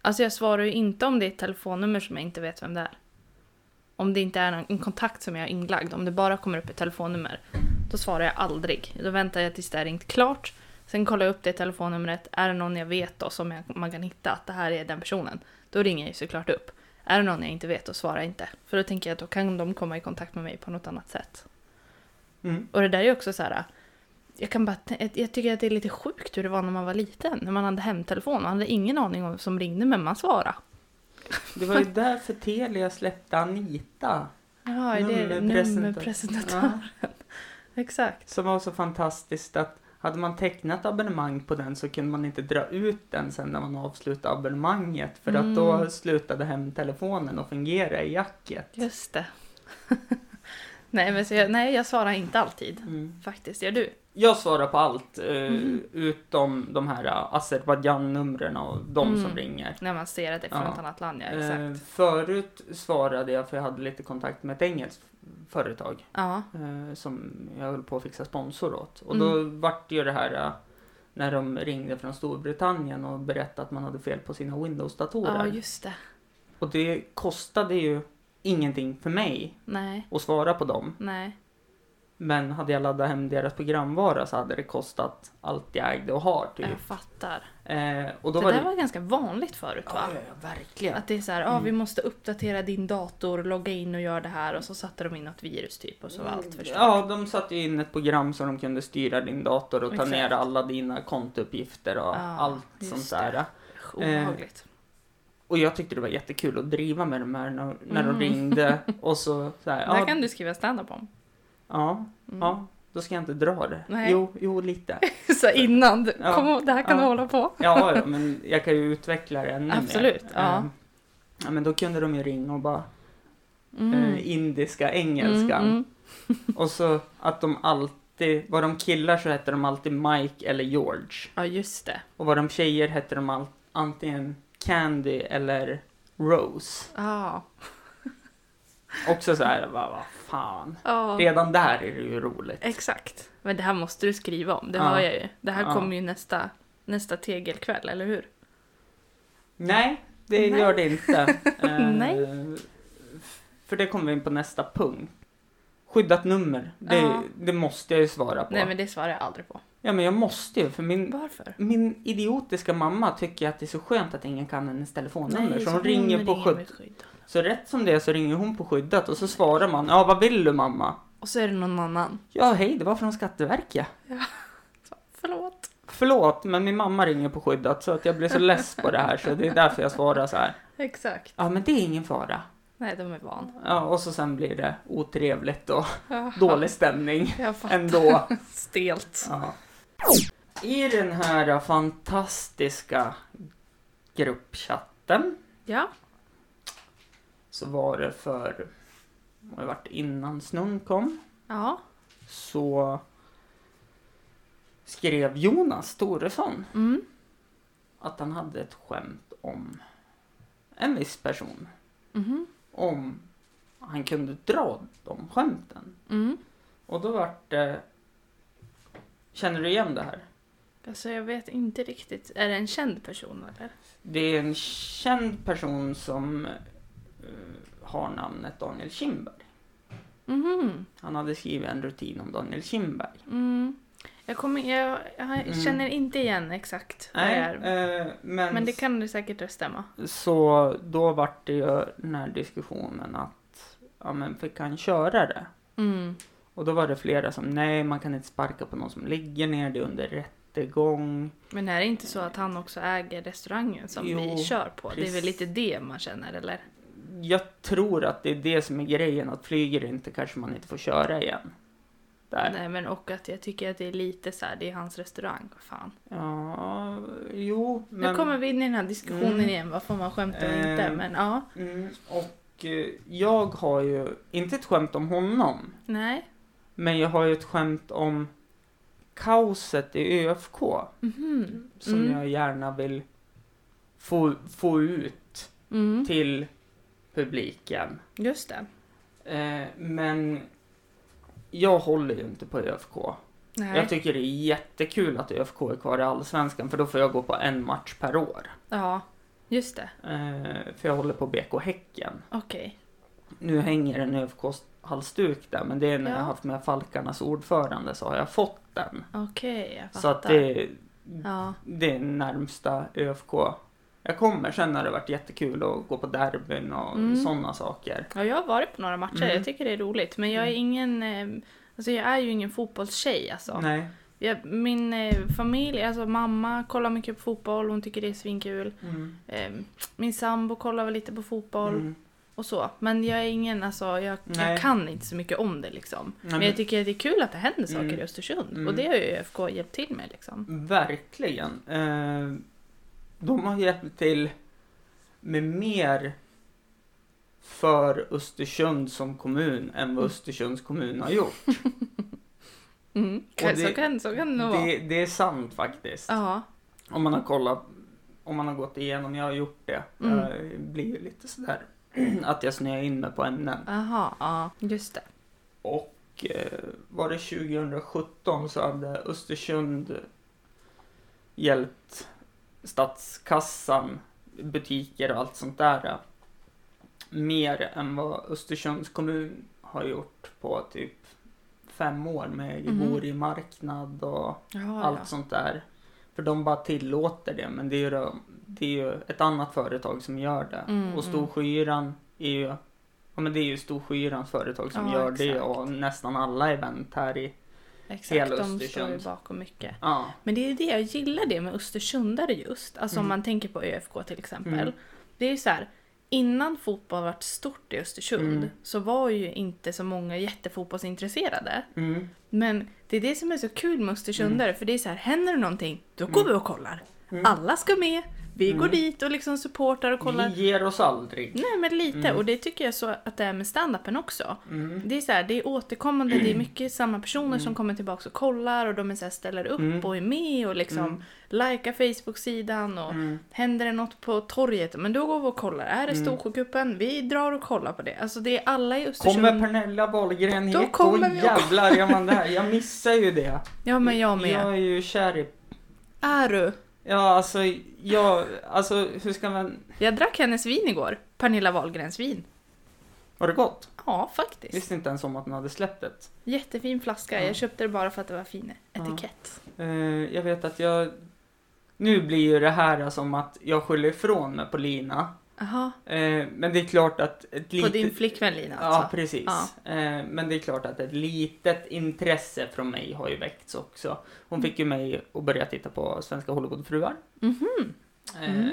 S2: Alltså jag svarar ju inte om det är ett telefonnummer som jag inte vet vem det är. Om det inte är någon, en kontakt som jag har inlagd, om det bara kommer upp ett telefonnummer, då svarar jag aldrig. Då väntar jag tills det är ringt klart. Sen kollar jag upp det telefonnumret. Är det någon jag vet då som jag, man kan hitta att det här är den personen, då ringer jag ju såklart upp. Är det någon jag inte vet, då svarar jag inte. För då tänker jag att då kan de komma i kontakt med mig på något annat sätt.
S1: Mm.
S2: Och det där är ju också så här. Jag, kan bara, tän- jag tycker att det är lite sjukt hur det var när man var liten. När man hade hemtelefon. Man hade ingen aning om vem som ringde men man svarade.
S1: Det var ju därför Telia släppte Anita.
S2: Ja, är det
S1: Nummerpresentat-
S2: nummerpresentatör?
S1: Ja.
S2: Exakt.
S1: Som var så fantastiskt att hade man tecknat abonnemang på den så kunde man inte dra ut den sen när man avslutade abonnemanget för att då
S2: Mm.
S1: slutade hemtelefonen att fungera i jacket.
S2: Just det. Nej, men så jag, nej, jag svarar inte alltid.
S1: Mm.
S2: Faktiskt, gör du?
S1: Jag svarar på allt eh,
S2: Mhm.
S1: utom de här uh, Azerbajdzjan-numren och de som
S2: Mm.
S1: ringer.
S2: När man ser att det är från
S1: Ja.
S2: ett annat land, ja exakt.
S1: Eh, förut svarade jag för jag hade lite kontakt med ett engelskt företag
S2: Ja,
S1: eh, som jag höll på att fixa sponsor åt. Och
S2: Mm.
S1: då vart ju det här eh, när de ringde från Storbritannien och berättade att man hade fel på sina
S2: ja
S1: Windows-datorer.
S2: just det.
S1: och det kostade ju ingenting för mig
S2: Nej,
S1: att svara på dem.
S2: nej.
S1: Men hade jag laddat hem deras programvara så hade det kostat allt jag ägde och har typ.
S2: Jag fattar.
S1: Eh, och då
S2: det
S1: var
S2: där
S1: det...
S2: var ganska vanligt förut va?
S1: Ja, ja, ja, Mm. verkligen.
S2: Att det är så här, ja vi måste uppdatera din dator, logga in och göra det här och så satte de in något virus typ och så var allt förstört.
S1: Mm. Ja, de satte ju in ett program så de kunde styra din dator och ta
S2: Exakt.
S1: ner alla dina kontouppgifter och
S2: Ja,
S1: allt
S2: just
S1: sånt där.
S2: Usch,
S1: Eh,
S2: Obehagligt.
S1: Och jag tyckte det var jättekul att driva med de här när, när
S2: Mm.
S1: de ringde och så, så här,
S2: Det
S1: ja,
S2: här kan du skriva standup om.
S1: ja,
S2: Mm.
S1: ja, då ska jag inte dra det.
S2: Nej.
S1: Jo, jo, lite.
S2: så innan, du,
S1: Ja.
S2: kom ihåg, det här kan
S1: Ja.
S2: du hålla på.
S1: Ja, ja, men jag kan ju utveckla det ännu
S2: Absolut,
S1: mer.
S2: ja.
S1: Eh, ja. Men då kunde de ju ringa och bara
S2: Mm.
S1: eh, indiska engelskan.
S2: Mm, mm.
S1: Och så att de alltid, var de killar så hette de alltid Mike eller George.
S2: Ja just det.
S1: Och var de tjejer hette de all, antingen Candy eller Rose.
S2: Ja.
S1: Också så här, bara, vad fan.
S2: Ja.
S1: Redan där är det ju roligt.
S2: Exakt. Men det här måste du skriva om, det
S1: Ja.
S2: hör jag ju. Det här
S1: Ja.
S2: kommer ju nästa, nästa tegelkväll, eller hur?
S1: Nej, det
S2: Nej.
S1: gör det inte. Eh,
S2: Nej.
S1: För det kommer vi in på nästa punkt. Skyddat nummer, det,
S2: Ja.
S1: det måste jag ju svara på.
S2: Nej men det svarar jag aldrig på.
S1: Ja men jag måste ju, för min
S2: Varför?
S1: Min idiotiska mamma tycker att det är så skönt att ingen kan hennes telefonnummer så hon
S2: så
S1: ringer på
S2: med
S1: skyddat.
S2: skydd.
S1: Så rätt som det är så ringer hon på skyddat och så svarar man ja vad vill du mamma?
S2: Och så är det någon annan.
S1: Ja hej det var från Skatteverket.
S2: Förlåt.
S1: Förlåt men min mamma ringer på skyddat så att jag blir så less på det här så det är därför jag svarar så här.
S2: Exakt.
S1: Ja men det är ingen fara.
S2: Nej, de är van.
S1: Ja och så sen blir det otrevligt och dålig stämning
S2: Jag fattar.
S1: ändå.
S2: Stelt.
S1: Ja. I den här fantastiska gruppchatten
S2: Ja.
S1: så var det för, det har varit innan snön kom,
S2: Ja.
S1: så skrev Jonas Toresson
S2: Mm.
S1: att han hade ett skämt om en viss person.
S2: Mhm.
S1: Om han kunde dra de skämten.
S2: Mm.
S1: Och då vart det... Känner du igen det här?
S2: Alltså jag vet inte riktigt. Är det en känd person eller?
S1: Det är en känd person som eh, har namnet Daniel Kindberg.
S2: Mhm.
S1: Han hade skrivit en rutin om Daniel Kindberg.
S2: Mm. Jag, kommer, jag, jag
S1: Mm.
S2: känner inte igen exakt vad det är.
S1: eh, men,
S2: Men det kan det säkert stämma.
S1: Så då vart det ju den här diskussionen att, ja men fick han köra det?
S2: Mm.
S1: Och då var det flera som, nej man kan inte sparka på någon som ligger ner, det är under rättegång.
S2: Men är det inte så att han också äger restaurangen som
S1: Jo,
S2: vi kör på? Det är väl
S1: precis.
S2: lite det man känner eller?
S1: Jag tror att det är det som är grejen, att flyger det inte kanske man inte får köra igen. Där.
S2: Nej men och att jag tycker att det är lite så här, det är hans restaurang, vad fan.
S1: Ja, jo men...
S2: nu kommer vi in i den här diskussionen
S1: Mm.
S2: igen, vad får man skämta och inte?
S1: Ehm.
S2: Men ja,
S1: Mm, och eh, jag har ju, inte ett skämt om honom,
S2: nej.
S1: men jag har ju ett skämt om kaoset i ÖFK.
S2: Mhm.
S1: som
S2: Mm.
S1: jag gärna vill få, få ut
S2: Mm.
S1: till publiken.
S2: Just det.
S1: Eh, men jag håller ju inte på ÖFK.
S2: Nej.
S1: Jag tycker det är jättekul att ÖFK är kvar i Allsvenskan för då får jag gå på en match per år.
S2: ja, just det.
S1: Eh, för jag håller på BK Häcken.
S2: Okej.
S1: Nu hänger en ÖFK-halsduk där men det är när
S2: Ja.
S1: jag har haft med Falkarnas ordförande så har jag fått den.
S2: Okej, jag fattar.
S1: Så att det,
S2: Ja,
S1: det är närmsta ÖFK jag kommer. Sen har det varit jättekul att gå på derbyn och
S2: Mm.
S1: sådana saker.
S2: ja jag har varit på några matcher,
S1: Mm.
S2: jag tycker det är roligt. Men jag är
S1: Mm.
S2: ingen, eh, alltså jag är ju ingen fotbollstjej alltså.
S1: Nej.
S2: Jag, min eh, familj, alltså mamma kollar mycket på fotboll, hon tycker det är svinkul.
S1: Mm.
S2: Eh, min sambo kollar väl lite på fotboll
S1: Mm.
S2: och så. Men jag är ingen, alltså jag, jag
S1: Nej.
S2: kan inte så mycket om det liksom.
S1: Nej,
S2: Men
S1: men-
S2: jag tycker att det är kul att det händer saker
S1: Mm.
S2: i Östersund.
S1: Mm.
S2: Och det har ju ÖFK hjälpt till med liksom.
S1: Verkligen. Eh, de har hjälpt till med mer för Östersund som kommun än vad Östersunds kommun har gjort.
S2: Mm.
S1: Och det-
S2: så, kan, så kan det nog vara.
S1: Det, det är sant faktiskt.
S2: Ja.
S1: Om man har kollat, om man har gått igenom, jag har gjort det.
S2: Mm.
S1: Jag blir ju lite sådär att jag snöar in mig på ämnen.
S2: Aha, ja. Just det.
S1: Och eh, var det 2017 så hade Östersund hjälpt statskassan, butiker och allt sånt där. eh, Mer än vad Östersunds kommun har gjort på typ fem år med
S2: Mhm.
S1: Givori-marknad och
S2: Ja,
S1: allt
S2: ja.
S1: sånt där. För de bara tillåter det, men det är ju, de- det är ju ett annat företag som gör det.
S2: Mm,
S1: och Storskyran är ju, ja men det är ju Storskyrans företag som
S2: Ja,
S1: gör det
S2: exakt.
S1: och nästan alla event här i,
S2: Exakt,
S1: hela
S2: de står ju
S1: Östersund.
S2: bakom mycket.
S1: ja.
S2: Men det är det jag gillar det med östersundare just. Alltså om
S1: Mm.
S2: man tänker på ÖFK till exempel.
S1: Mm.
S2: Det är ju så här, innan fotboll vart stort i Östersund
S1: Mm.
S2: så var ju inte så många jättefotbollsintresserade.
S1: Mm.
S2: Men det är det som är så kul med östersundare för det är så här, händer det någonting, då går vi och kollar.
S1: Mm.
S2: Alla ska med, vi går
S1: Mm.
S2: dit och liksom supportar och kollar.
S1: Vi ger oss aldrig.
S2: Nej men lite,
S1: Mm.
S2: och det tycker jag så att det är med standupen också.
S1: Mm.
S2: Det är så här, det är återkommande, det är mycket samma personer som kommer tillbaka och kollar och de är så här, ställer upp
S1: Mm.
S2: och är med och liksom
S1: Mm.
S2: likar Facebook-sidan och
S1: Mm.
S2: händer det något på torget, men då går vi och kollar. Är det
S1: Mm.
S2: Storsjökuppen? Vi drar och kollar på det. Alltså det är alla i Östersund.
S1: Kommer Pernilla Wahlgren hit,
S2: Då
S1: då,
S2: kommer vi och-
S1: jävlar gör man det här. Jag missar ju det.
S2: Ja men jag med.
S1: Jag är ju kär i...
S2: Är du?
S1: Ja, alltså, jag, alltså hur ska man...
S2: Jag drack hennes vin igår. Pernilla Wahlgrens vin.
S1: Var det gott?
S2: Ja, faktiskt.
S1: Visste inte ens om att den hade släppt ett.
S2: Jättefin flaska.
S1: Ja.
S2: Jag köpte det bara för att det var fin
S1: Ja.
S2: etikett.
S1: Eh, jag vet att jag... Nu blir ju det här som att jag skyller ifrån mig på Lina.
S2: Jaha.
S1: Eh, men det är klart att ett
S2: På
S1: litet...
S2: din flickvän Lina
S1: Ja,
S2: alltså.
S1: precis. Eh, men det är klart att ett litet intresse från mig har ju väckts också. Hon
S2: Mm.
S1: fick ju mig att börja titta på Svenska Hollywoodfruar.
S2: Mhm. Mm.
S1: Eh,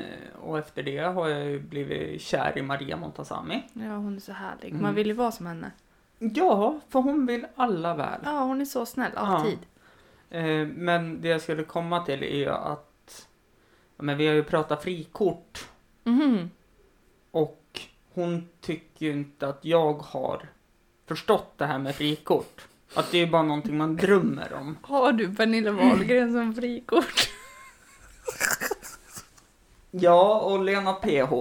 S1: och efter det har jag ju blivit kär i Maria Montazami.
S2: Ja, hon är så härlig. Man
S1: Mm.
S2: vill ju vara som henne.
S1: Ja, för hon vill alla väl.
S2: Ja, hon är så snäll
S1: Ja.
S2: alltid.
S1: Eh, men det jag skulle komma till är ju att... Ja, men vi har ju pratat frikort.
S2: Mhm.
S1: Och hon tycker ju inte att jag har förstått det här med frikort. Att det är ju bara någonting man drömmer om.
S2: Har du Pernilla
S1: Mm.
S2: Wahlgren som frikort?
S1: Ja, och Lena PH.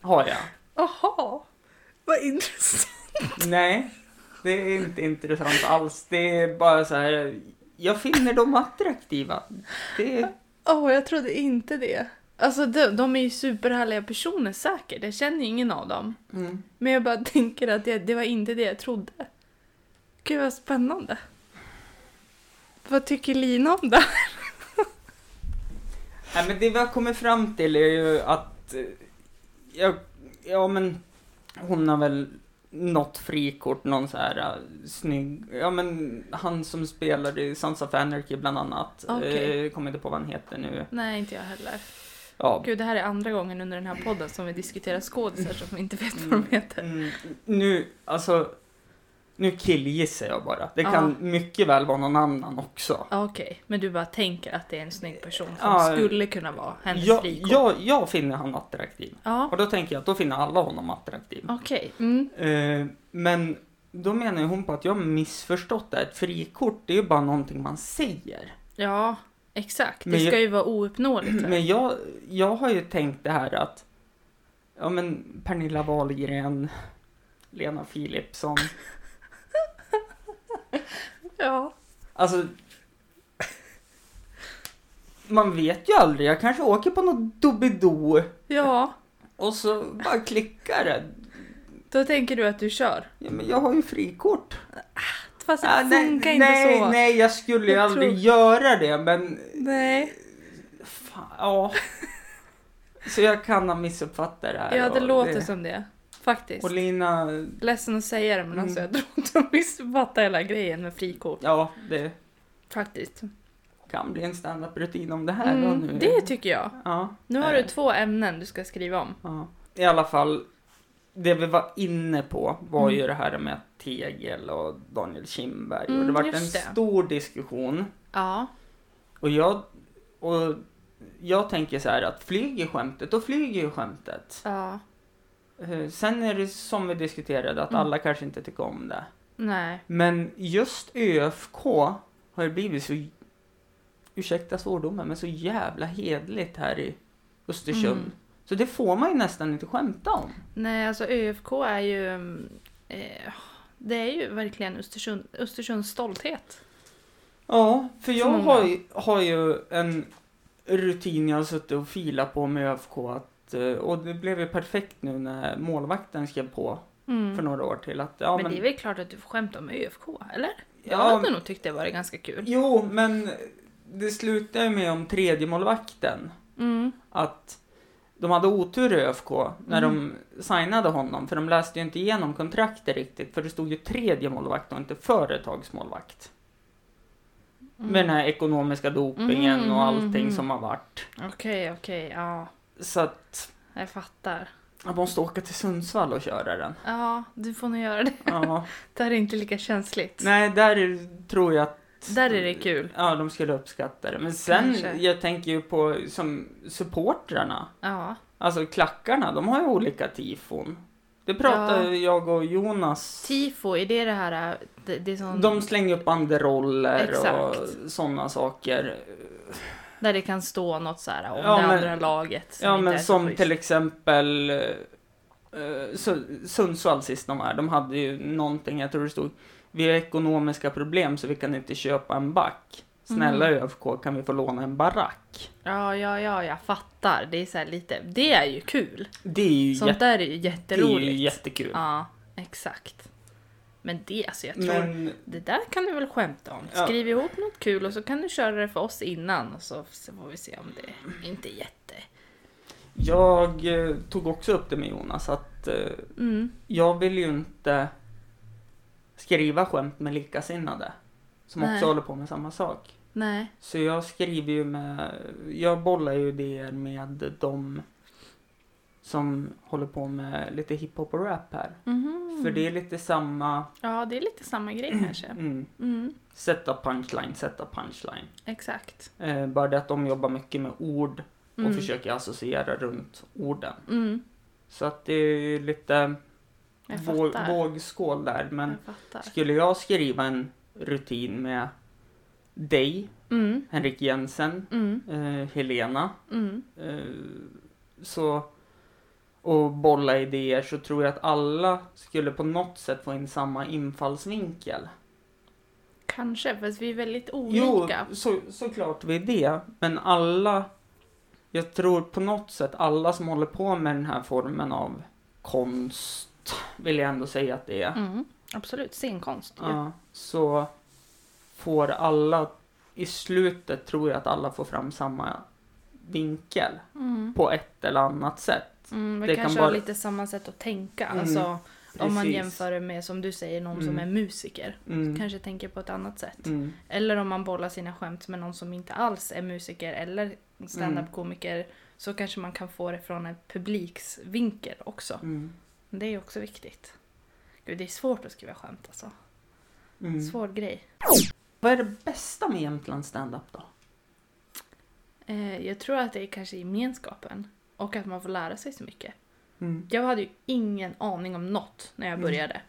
S1: Har jag.
S2: Jaha, vad intressant.
S1: Nej, det är inte intressant alls. Det är bara så här. Jag finner dem attraktiva. Det är,
S2: Åh, jag trodde inte det. Alltså de, de är ju superhärliga personer säkert, jag känner ju ingen av dem.
S1: mm.
S2: Men jag bara tänker att det, det var inte det jag trodde. Gud vad spännande. Vad tycker Lina om det?
S1: Nej, men det vi har kommit fram till är ju att... eh, Ja, ja men hon har väl något frikort, någon så här eh, snygg... Ja men han som spelar i Sons of Anarchy bland annat.
S2: Okej.
S1: Eh, kommer inte på vad han heter nu.
S2: Nej, inte jag heller.
S1: Ja.
S2: Gud, det här är andra gången under den här podden som vi diskuterar skådisar som vi inte vet vad de heter.
S1: Mm, nu, alltså... Nu killgissar jag bara. Det
S2: Ja.
S1: kan mycket väl vara någon annan också.
S2: Ja, Okej, men du bara tänker att det är en snygg person som
S1: Ja,
S2: skulle kunna vara hennes
S1: Jag,
S2: frikort?
S1: jag, jag finner han attraktiv.
S2: Ja,
S1: Och då tänker jag att då finner alla honom attraktiv.
S2: okej. Mm.
S1: Eh, men då menar ju hon på att jag har missförstått det. här. Ett frikort, det är ju bara någonting man säger.
S2: Ja, exakt. Det
S1: Men jag-
S2: ska ju vara ouppnåeligt. va?
S1: Men jag, jag har ju tänkt det här att, ja men Pernilla Wahlgren, Lena Philipsson,
S2: Ja.
S1: alltså man vet ju aldrig, jag kanske åker på något Doobidoo
S2: ja,
S1: och så bara klickar det.
S2: då tänker du att du kör.
S1: Ja, men jag har ju frikort.
S2: Fast det
S1: Ah,
S2: funkar inte
S1: nej,
S2: så.
S1: nej, jag skulle ju
S2: Jag
S1: aldrig
S2: tror-
S1: göra det, men
S2: Nej.
S1: Fan, ja. Så jag kan ha missuppfattat det här.
S2: Ja, det
S1: och
S2: låter som det. Faktiskt.
S1: Och Lina,
S2: Ledsen att säga det, men alltså
S1: Mm.
S2: jag tror inte de missuppfattar hela grejen med frikort.
S1: ja, det
S2: Faktiskt.
S1: kan bli en standup-rutin om det här då nu.
S2: Mm, det tycker jag.
S1: Ja,
S2: Nu har du
S1: Eh.
S2: två ämnen du ska skriva om.
S1: ja. I alla fall, det vi var inne på var
S2: Mm.
S1: ju det här med Tegel och Daniel Kindberg. och
S2: Mm,
S1: det var en
S2: just det.
S1: stor diskussion.
S2: Ja.
S1: Och jag, och jag tänker så här att flyger skämtet, då flyger ju skämtet.
S2: Ja.
S1: Eh, Sen är det som vi diskuterade, att
S2: Mm.
S1: alla kanske inte tycker om det.
S2: Nej.
S1: Men just ÖFK har ju blivit så, ursäkta svordomen, men så jävla hedligt här i Östersund.
S2: Mm.
S1: Så det får man ju nästan inte skämta om.
S2: Nej, alltså ÖFK är ju... Eh, det är ju verkligen Östersund, Östersunds stolthet.
S1: Ja, för
S2: För
S1: jag
S2: många.
S1: har ju, har ju en rutin jag har suttit och filat på med ÖFK. Att, eh, och det blev ju perfekt nu när målvakten skrev på
S2: Mm.
S1: för några år till. Att, ja,
S2: men,
S1: men,
S2: det är väl klart att du får skämta om ÖFK, eller? Jag
S1: ja,
S2: hade nog tyckt det var ganska kul.
S1: Jo, men det slutade ju med om tredje målvakten.
S2: Mm.
S1: Att de hade otur i ÖFK när
S2: Mm.
S1: de signade honom. För de läste ju inte igenom kontraktet riktigt. För det stod ju tredje målvakt och inte företagsmålvakt.
S2: Mm.
S1: Med den här ekonomiska dopingen
S2: Mhm,
S1: och allting
S2: mhm.
S1: som har varit.
S2: Okej, okej, ja.
S1: Så att
S2: Jag fattar.
S1: jag måste åka till Sundsvall och köra den.
S2: Ja, du får nog göra det.
S1: Ja.
S2: Det här är inte lika känsligt.
S1: Nej, där tror jag att
S2: Där är det kul.
S1: Ja, de skulle uppskatta det. Men sen,
S2: Kanske.
S1: jag tänker ju på som supportrarna.
S2: Ja.
S1: Alltså klackarna, de har ju olika tifon. Det pratar
S2: Ja.
S1: jag och Jonas.
S2: Tifo, är det det här... äh, Det, det är sån,
S1: De slänger upp banderoller och
S2: Exakt.
S1: sådana saker.
S2: Där det kan stå något så här om
S1: Ja,
S2: det
S1: men-
S2: andra laget. som
S1: ja,
S2: inte är
S1: men
S2: så
S1: som
S2: schysst.
S1: till exempel eh, Su- Sundsvall sist de var, de hade ju någonting, jag tror det stod Vi har ekonomiska problem så vi kan inte köpa en back. Snälla
S2: Mm.
S1: ÖFK, kan vi få låna en barack?
S2: Ja, ja, ja, jag fattar. Det är så här lite... Det är ju kul.
S1: Det är ju,
S2: Sånt
S1: jätte,
S2: där är ju
S1: det är ju
S2: jätteroligt.
S1: jättekul.
S2: Ja, exakt. Men det, alltså jag tror...
S1: men
S2: Det där kan du väl skämta om?
S1: Ja.
S2: Skriv ihop något kul och så kan du köra det för oss innan och så så får vi se om det inte är jätte...
S1: jag eh, tog också upp det med Jonas att eh,
S2: Mm.
S1: jag vill ju inte skriva skämt med likasinnade som
S2: Nej.
S1: också håller på med samma sak.
S2: Nej.
S1: Så jag skriver ju med, jag bollar ju idéer med de som håller på med lite hiphop och rap här.
S2: Mhm.
S1: För det är lite samma,
S2: Ja, det är lite samma grej kanske.
S1: mm,
S2: Mm,
S1: sätta punchline, sätta punchline.
S2: exakt.
S1: Eh, bara det att de jobbar mycket med ord och
S2: Mm.
S1: försöker associera runt orden.
S2: Mm,
S1: Så att det är ju lite
S2: jag
S1: våg,
S2: fattar.
S1: vågskål där. Men
S2: Jag fattar.
S1: skulle jag skriva en rutin med dig,
S2: Mm,
S1: Henrik Jensen,
S2: mm,
S1: eh, Helena
S2: mm.
S1: Eh, så och bolla idéer så tror jag att alla skulle på något sätt få in samma infallsvinkel.
S2: Kanske, fast vi är väldigt
S1: Jo,
S2: olika.
S1: så, såklart vi är det, men alla jag tror på något sätt alla som håller på med den här formen av konst vill jag ändå säga att det är.
S2: Mm, absolut, scenkonst. ju.
S1: Ja, så får alla i slutet tror jag att alla får fram samma vinkel
S2: Mm.
S1: på ett eller annat sätt.
S2: Mm, vi
S1: Det kan
S2: kanske har
S1: bara-
S2: lite samma sätt att tänka.
S1: Mm,
S2: alltså, om man
S1: Precis.
S2: jämför det med, som du säger, någon som
S1: Mm.
S2: är musiker.
S1: Mm.
S2: Kanske tänker på ett annat sätt.
S1: Mm.
S2: Eller om man bollar sina skämt med någon som inte alls är musiker eller standup-komiker så kanske man kan få det från en publiksvinkel också.
S1: Mm.
S2: Det är ju också viktigt. Gud, det är svårt att skriva skämt alltså.
S1: Mm.
S2: Svår grej.
S1: Vad är det bästa med Jämtlands standup då?
S2: Eh, jag tror att det är kanske gemenskapen och att man får lära sig så mycket. Jag hade ju ingen aning om något när jag
S1: Mm.
S2: började.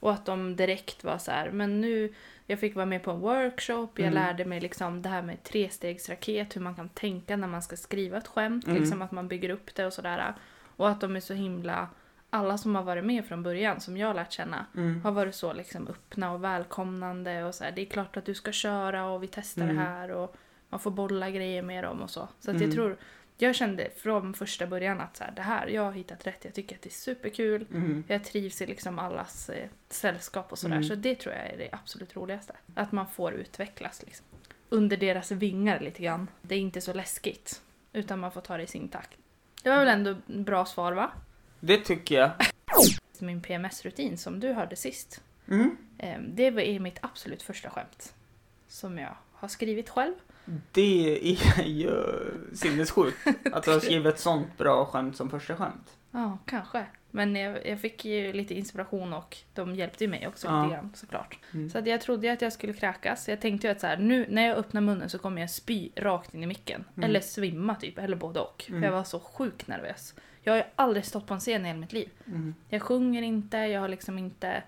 S2: Och att de direkt var så här, men nu, jag fick vara med på en workshop, jag
S1: Mm.
S2: lärde mig liksom det här med trestegsraket, hur man kan tänka när man ska skriva ett skämt,
S1: Mm.
S2: liksom att man bygger upp det och sådär. Och att de är så himla, alla som har varit med från början, som jag har lärt känna,
S1: Mm.
S2: har varit så liksom öppna och välkomnande och så här, det är klart att du ska köra och vi testar
S1: Mm.
S2: det här och man får bolla grejer med dem och så. Så att jag
S1: Mm.
S2: tror, jag kände från första början att så här, det här, jag har hittat rätt, jag tycker att det är superkul,
S1: Mm.
S2: jag trivs i liksom allas eh, sällskap och sådär.
S1: Mm.
S2: Så det tror jag är det absolut roligaste, att man får utvecklas liksom. Under deras vingar lite grann. Det är inte så läskigt, utan man får ta det i sin takt. Det var väl ändå bra svar va?
S1: Det tycker jag.
S2: Min PMS-rutin som du hörde sist.
S1: Mm.
S2: Eh, Det var- är mitt absolut första skämt. Som jag har skrivit själv.
S1: Det är ju sinnessjukt att du har skrivit ett sånt bra skämt som första skämt.
S2: Ja, kanske. Men jag, jag fick ju lite inspiration och de hjälpte ju mig också
S1: Ja.
S2: lite grann såklart.
S1: Mm.
S2: Så att jag trodde ju att jag skulle kräkas. Jag tänkte ju att så här, nu när jag öppnar munnen så kommer jag spy rakt in i micken.
S1: Mm.
S2: Eller svimma typ, eller både och.
S1: Mm.
S2: För jag var så sjukt nervös. Jag har ju aldrig stått på en scen i hela mitt liv.
S1: Mm.
S2: Jag sjunger inte, jag har liksom inte...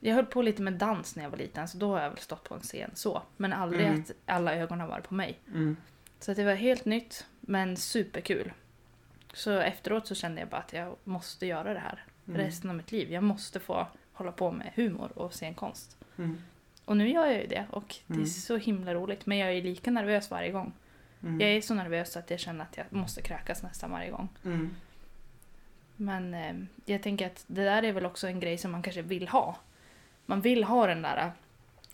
S2: Jag höll på lite med dans när jag var liten, så då har jag väl stått på en scen så. Men aldrig
S1: Mm.
S2: att alla ögon har varit på mig.
S1: Mm.
S2: Så att det var helt nytt, men superkul. Så efteråt så kände jag bara att jag måste göra det här
S1: Mm.
S2: resten av mitt liv. Jag måste få hålla på med humor och scenkonst.
S1: Mm.
S2: Och nu gör jag ju det och det är
S1: Mm.
S2: så himla roligt. Men jag är lika nervös varje gång.
S1: Mm.
S2: Jag är så nervös att jag känner att jag måste kräkas nästan varje gång.
S1: Mm.
S2: Men eh, jag tänker att det där är väl också en grej som man kanske vill ha. Man vill ha den där eh,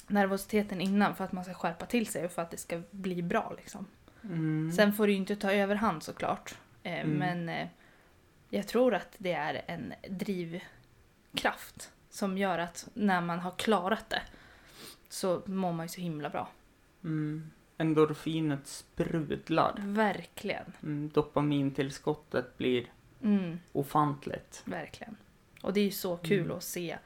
S2: nervositeten innan för att man ska skärpa till sig och för att det ska bli bra. Liksom.
S1: Mm.
S2: Sen får det ju inte ta överhand såklart. Eh,
S1: Mm.
S2: Men eh, jag tror att det är en drivkraft som gör att när man har klarat det så mår man ju så himla bra.
S1: Mm. Endorfinet sprudlar.
S2: Verkligen.
S1: Mm. Dopamintillskottet blir
S2: Mm.
S1: ofantligt.
S2: Verkligen. Och det är ju så kul
S1: Mm.
S2: att se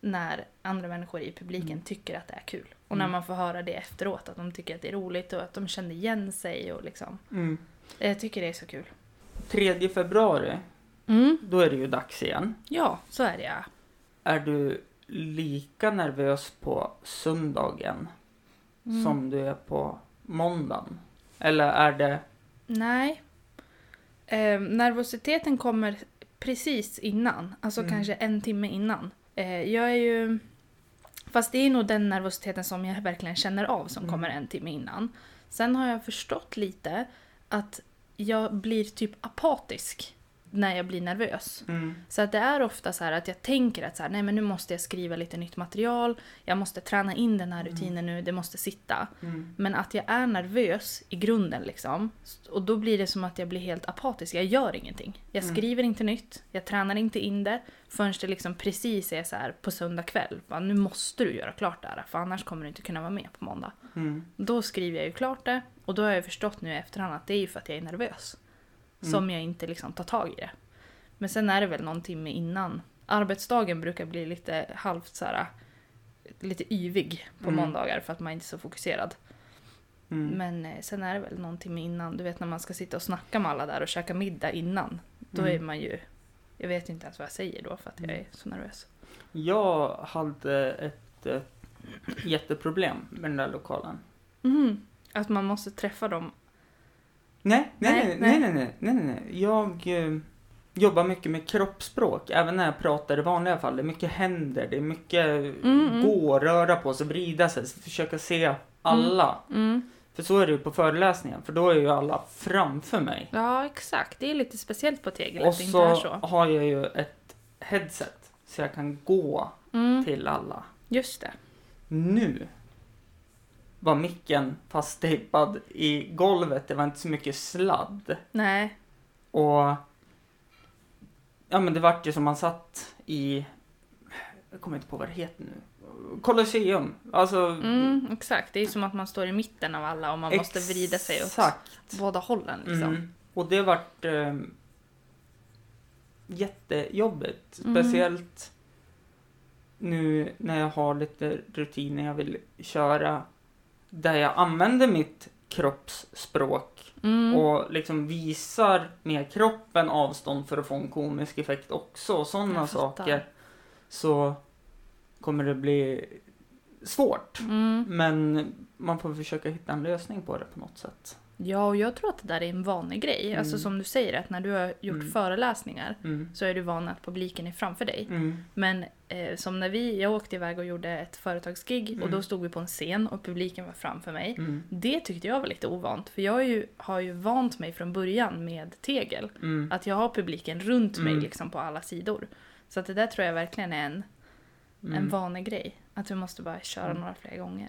S2: när andra människor i publiken
S1: Mm.
S2: tycker att det är kul. Och när
S1: Mm.
S2: man får höra det efteråt, att de tycker att det är roligt och att de känner igen sig och liksom.
S1: Mm.
S2: Jag tycker det är så kul.
S1: 3 februari,
S2: Mm.
S1: då är det ju dags igen.
S2: Ja, så är det ja.
S1: Är du lika nervös på söndagen
S2: Mm.
S1: som du är på måndagen? Eller är det...
S2: Nej. Eh, nervositeten kommer precis innan, alltså
S1: Mm.
S2: kanske en timme innan. Eh, jag är ju... Fast det är nog den nervositeten som jag verkligen känner av som
S1: Mm.
S2: kommer en timme innan. Sen har jag förstått lite att jag blir typ apatisk när jag blir nervös.
S1: Mm.
S2: Så att det är ofta så här att jag tänker att så här, nej men nu måste jag skriva lite nytt material, jag måste träna in den här
S1: Mm.
S2: rutinen nu, det måste sitta.
S1: Mm.
S2: Men att jag är nervös i grunden liksom. Och då blir det som att jag blir helt apatisk. Jag gör ingenting. Jag
S1: Mm.
S2: skriver inte nytt. Jag tränar inte in det. Förrän det liksom precis är så här på söndag kväll. Bara, nu måste du göra klart det här. För annars kommer du inte kunna vara med på måndag.
S1: Mm.
S2: Då skriver jag ju klart det. Och då har jag förstått nu i efterhand att det är ju för att jag är nervös. Som
S1: Mm.
S2: jag inte liksom tar tag i det. Men sen är det väl någon timme innan. Arbetsdagen brukar bli lite halvt så här lite yvig på
S1: Mm.
S2: måndagar för att man inte är så fokuserad.
S1: Mm.
S2: Men eh, sen är det väl någon timme innan, du vet när man ska sitta och snacka med alla där och käka middag innan. Då
S1: Mm.
S2: är man ju, jag vet inte ens vad jag säger då för att jag är så nervös.
S1: Jag hade ett eh, jätteproblem med den där lokalen.
S2: Att man måste träffa dem.
S1: Nej, nej,
S2: Nej,
S1: nej, nej, nej, nej, nej, nej, nej. Jag eh, jobbar mycket med kroppsspråk, även när jag pratar i vanliga fall. Det är mycket händer, det är mycket
S2: Mm, mm.
S1: gå, röra på sig, vrida sig, försöka se alla.
S2: Mm.
S1: För så är det ju på föreläsningen, för då är ju alla framför mig.
S2: Ja exakt, det är lite speciellt på tegel
S1: Och
S2: att det inte är
S1: så,
S2: så.
S1: har jag ju ett headset så jag kan gå
S2: Mm.
S1: till alla.
S2: Just det.
S1: Nu var micken fasttejpad i golvet, det var inte så mycket sladd.
S2: Nej.
S1: Och ja men det vart ju som man satt i, jag kommer inte på vad det heter nu, Colosseum. Alltså
S2: Mm, exakt, det är som att man står i mitten av alla och man måste vrida sig åt
S1: Exakt.
S2: båda hållen liksom.
S1: Mm. Och det vart eh, jättejobbigt.
S2: Mm.
S1: Speciellt nu när jag har lite rutiner jag vill köra där jag använder mitt kroppsspråk
S2: Mm.
S1: och liksom visar med kroppen avstånd för att få en komisk effekt också och sådana
S2: Jag fattar.
S1: saker. Så kommer det bli svårt.
S2: Mm.
S1: Men man får försöka hitta en lösning på det på något sätt.
S2: Ja, och jag tror att det där är en vanlig grej. Alltså
S1: Mm.
S2: som du säger, att när du har gjort
S1: Mm.
S2: föreläsningar
S1: Mm.
S2: så är du van att publiken är framför dig.
S1: Mm.
S2: Men eh, som när vi, jag åkte iväg och gjorde ett företagsgig och
S1: Mm.
S2: då stod vi på en scen och publiken var framför mig.
S1: Mm.
S2: Det tyckte jag var lite ovant för jag är ju, har ju vant mig från början med tegel.
S1: Mm.
S2: Att jag har publiken runt mig
S1: Mm.
S2: liksom på alla sidor. Så att det där tror jag verkligen är en,
S1: Mm.
S2: en vanlig grej. Att vi måste bara köra
S1: Mm.
S2: några fler gånger.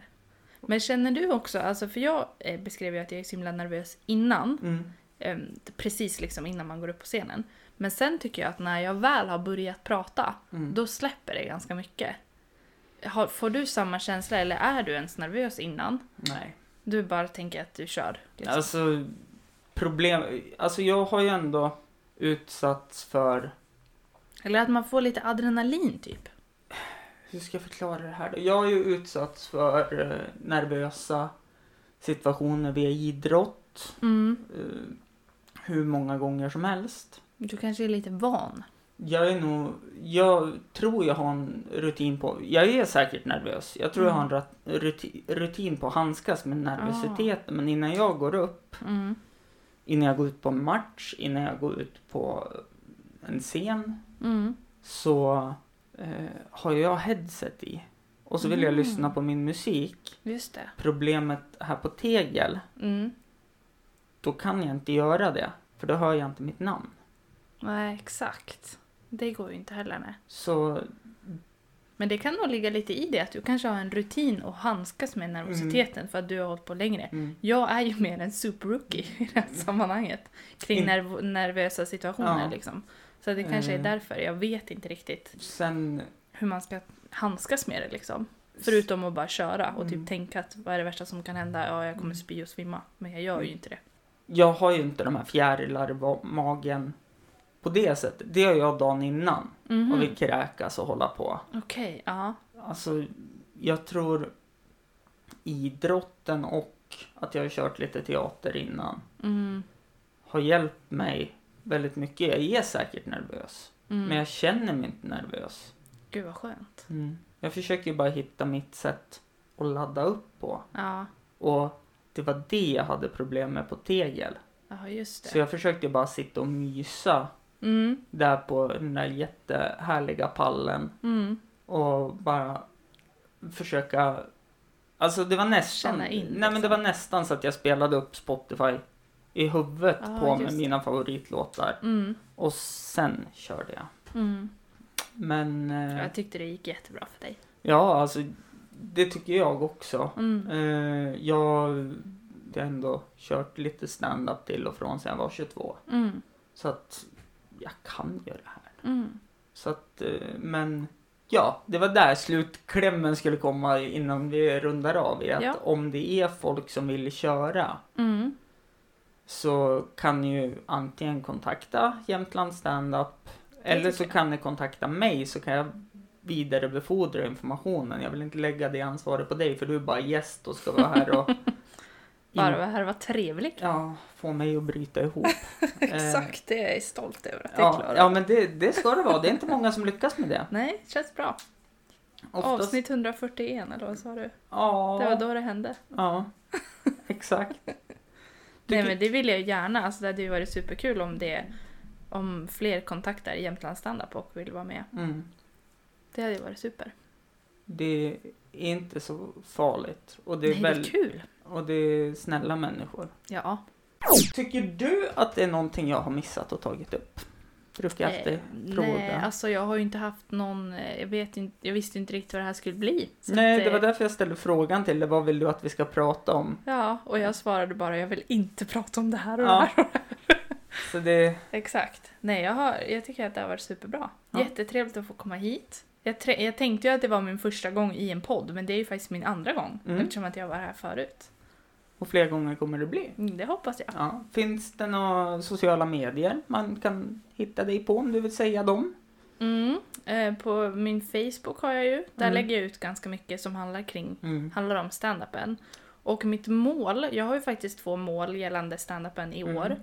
S2: Men känner du också, alltså för jag eh, beskrev ju att jag är så himla nervös innan.
S1: Mm.
S2: eh, precis liksom innan man går upp på scenen. Men sen tycker jag att när jag väl har börjat prata,
S1: Mm.
S2: då släpper det ganska mycket. Har, får du samma känsla eller är du ens nervös innan?
S1: Nej.
S2: Du bara tänker att du kör. Liksom.
S1: Alltså, problem... Alltså jag har ju ändå utsatts för...
S2: Eller att man får lite adrenalin typ.
S1: Hur ska jag förklara det här då? Jag har ju utsatts för eh, nervösa situationer via idrott.
S2: Mm.
S1: Eh, hur många gånger som helst.
S2: Du kanske är lite van.
S1: Jag är nog, jag tror jag har en rutin på, jag är säkert nervös. Jag tror jag har en rat, ruti, rutin på att handskas med nervositeten. Men innan jag går upp,
S2: Mm.
S1: innan jag går ut på en match, innan jag går ut på en scen.
S2: Mm.
S1: Så eh, har jag headset i. Och så vill jag
S2: Mm.
S1: lyssna på min musik.
S2: Just det.
S1: Problemet här på Tegel,
S2: Mm.
S1: då kan jag inte göra det. För då hör jag inte mitt namn.
S2: Nej, exakt. Det går ju inte heller. Nej.
S1: Så
S2: Men det kan nog ligga lite i det att du kanske har en rutin och handskas med nervositeten för att du har hållit på längre.
S1: mm,
S2: Jag är ju mer en superrookie i det här sammanhanget. Kring
S1: In-
S2: nerv- nervösa situationer
S1: Ja.
S2: liksom. Så det kanske är
S1: Eh.
S2: därför. Jag vet inte riktigt
S1: sen
S2: hur man ska handskas med det liksom. Förutom att bara köra och typ
S1: Mm.
S2: tänka att vad är det värsta som kan hända? Ja, jag kommer
S1: Mm.
S2: spy och svimma. Men jag gör ju inte det.
S1: jag har ju inte de här fjärilar i va- magen på det sättet. Det gör jag dagen innan
S2: Mhm.
S1: och
S2: Okej,
S1: vill kräkas och hålla på.
S2: ja.
S1: Alltså, jag tror idrotten och att jag har kört lite teater innan
S2: Mm.
S1: har hjälpt mig väldigt mycket. Jag är säkert nervös,
S2: Mm.
S1: men jag känner mig inte nervös.
S2: Gud vad skönt.
S1: Jag försöker ju bara hitta mitt sätt att ladda upp på.
S2: Ja,
S1: Och det var det jag hade problem med på tegel.
S2: ja just det.
S1: Så jag försökte bara sitta och mysa
S2: Mm.
S1: där på den där jättehärliga pallen
S2: Mm.
S1: och bara försöka Alltså det var nästan,
S2: Känna in,
S1: nej men det
S2: liksom.
S1: var nästan så att jag spelade upp Spotify i huvudet
S2: Ja,
S1: på med
S2: just det.
S1: mina favoritlåtar
S2: Mm.
S1: och sen körde jag.
S2: Mm.
S1: Men eh,
S2: Jag tyckte det gick jättebra för dig.
S1: ja, alltså det tycker jag också.
S2: Mm.
S1: Eh, jag har ändå kört lite stand-up till och från sedan jag var 22
S2: Mm.
S1: så att jag kan göra det här.
S2: Mm.
S1: Så att, eh, men ja, det var där slutklämmen skulle komma innan vi rundar av. Är att
S2: Ja.
S1: Om det är folk som vill köra
S2: Mm.
S1: så kan ni ju antingen kontakta Jämtland Standup eller
S2: tycker
S1: så
S2: jag.
S1: kan ni kontakta mig så kan jag vidarebefordra informationen. Jag vill inte lägga det ansvaret på dig för du är bara gäst och ska vara här och
S2: Bara
S1: in-
S2: det här var trevligt.
S1: ja, få mig att bryta ihop.
S2: Exakt, det är jag stolt över att jag
S1: Eh, ja,
S2: klarade.
S1: ja, men det, det ska det vara. Det är inte många som lyckas med det.
S2: Nej, känns bra.
S1: Oftast-
S2: Avsnitt 141 eller vad sa du?
S1: Ja.
S2: Det var då det hände.
S1: Ja, exakt.
S2: Nej
S1: Tycker-
S2: men det vill jag gärna. Alltså, det hade ju varit superkul om det om fler kontaktar Jämtland standup och vill vara med.
S1: Mm.
S2: Det hade ju varit super.
S1: Det är inte så farligt och det, är
S2: Nej, det är
S1: väl,
S2: kul.
S1: och det är snälla människor.
S2: Ja.
S1: Tycker du att det är någonting jag har missat och tagit upp? Brukar jag alltid
S2: Eh,
S1: fråga.
S2: nej, alltså jag har ju inte haft någon, eh, jag, vet inte, jag visste ju inte riktigt vad det här skulle bli. Så
S1: Nej,
S2: att,
S1: det var
S2: eh,
S1: därför jag ställde frågan till dig. Vad vill du att vi ska prata om?
S2: Ja, och jag svarade bara jag vill inte prata om det här och det
S1: Ja.
S2: här.
S1: Så det,
S2: Exakt. Nej, jag, har, jag tycker att det har varit superbra.
S1: Ja.
S2: Jättetrevligt att få komma hit. Jag, tre- jag tänkte ju att det var min första gång i en podd, men det är ju faktiskt min andra gång
S1: Mm.
S2: eftersom att jag var här förut.
S1: och fler gånger kommer det bli.
S2: Mm, Det hoppas jag.
S1: Ja. Finns det några sociala medier man kan hitta dig på om du vill säga dem?
S2: Mm. Eh, på min Facebook har jag ju, där
S1: Mm.
S2: lägger jag ut ganska mycket som handlar kring
S1: Mm.
S2: handlar om standupen. Och mitt mål, jag har ju faktiskt två mål gällande standupen i
S1: Mm.
S2: år.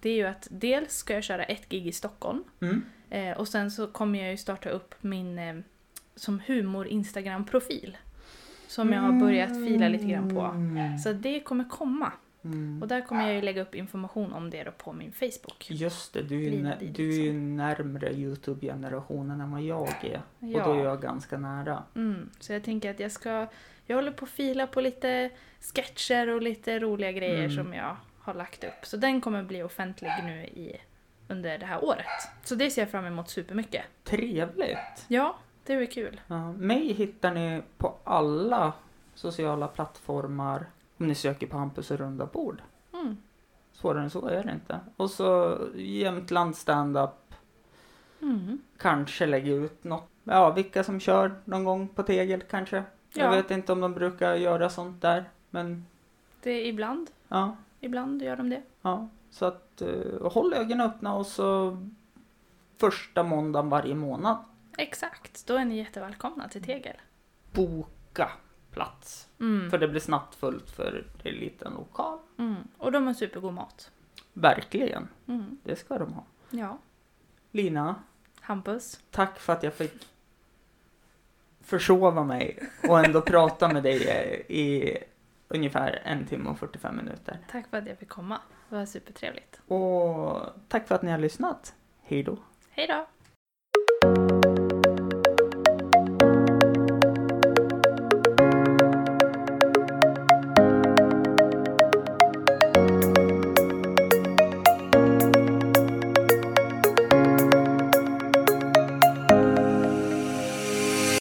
S2: Det är ju att dels ska jag köra ett gig i Stockholm
S1: Mm.
S2: Eh, och sen så kommer jag ju starta upp min eh, som humor-instagram-profil. Som jag har börjat fila lite grann på.
S1: Mm.
S2: Så det kommer komma.
S1: Mm.
S2: Och där kommer jag ju lägga upp information om det då på min Facebook.
S1: Just det, du är, ju
S2: Lina
S1: nä-
S2: Didriksson.
S1: du är ju
S2: liksom.
S1: närmre Youtube-generationen än vad jag är.
S2: Ja.
S1: Och då är jag ganska nära.
S2: Mm, så jag tänker att jag ska... Jag håller på att fila på lite sketcher och lite roliga grejer
S1: Mm.
S2: som jag har lagt upp. Så den kommer bli offentlig nu i, under det här året. Så det ser jag fram emot supermycket.
S1: Trevligt!
S2: Ja, det blir kul.
S1: Ja, mig hittar ni på alla sociala plattformar om ni söker på Hampus och runda bord.
S2: Mm.
S1: Svårare än så är det inte. Och så Jämtland standup.
S2: Mm.
S1: Kanske lägger ut något. Ja, vilka som kör någon gång på tegel kanske. Jag
S2: Ja.
S1: vet inte om de brukar göra sånt där. Men
S2: Det är ibland.
S1: ja.
S2: Ibland gör de det.
S1: Ja, så att eh, håll ögonen öppna och så första måndagen varje månad
S2: Exakt, då är ni jättevälkomna till Tegel.
S1: boka plats.
S2: Mm.
S1: För det blir snabbt fullt för det är en liten lokal.
S2: Mm. Och de har supergod mat.
S1: Verkligen,
S2: Mm.
S1: det ska de ha.
S2: Ja.
S1: Lina,
S2: Hampus.
S1: tack för att jag fick försova mig och ändå prata med dig eh, i ungefär en timme och 45 minuter.
S2: Tack för att jag fick komma. Det var supertrevligt.
S1: Och tack för att ni har lyssnat. Hej då!
S2: Hej då!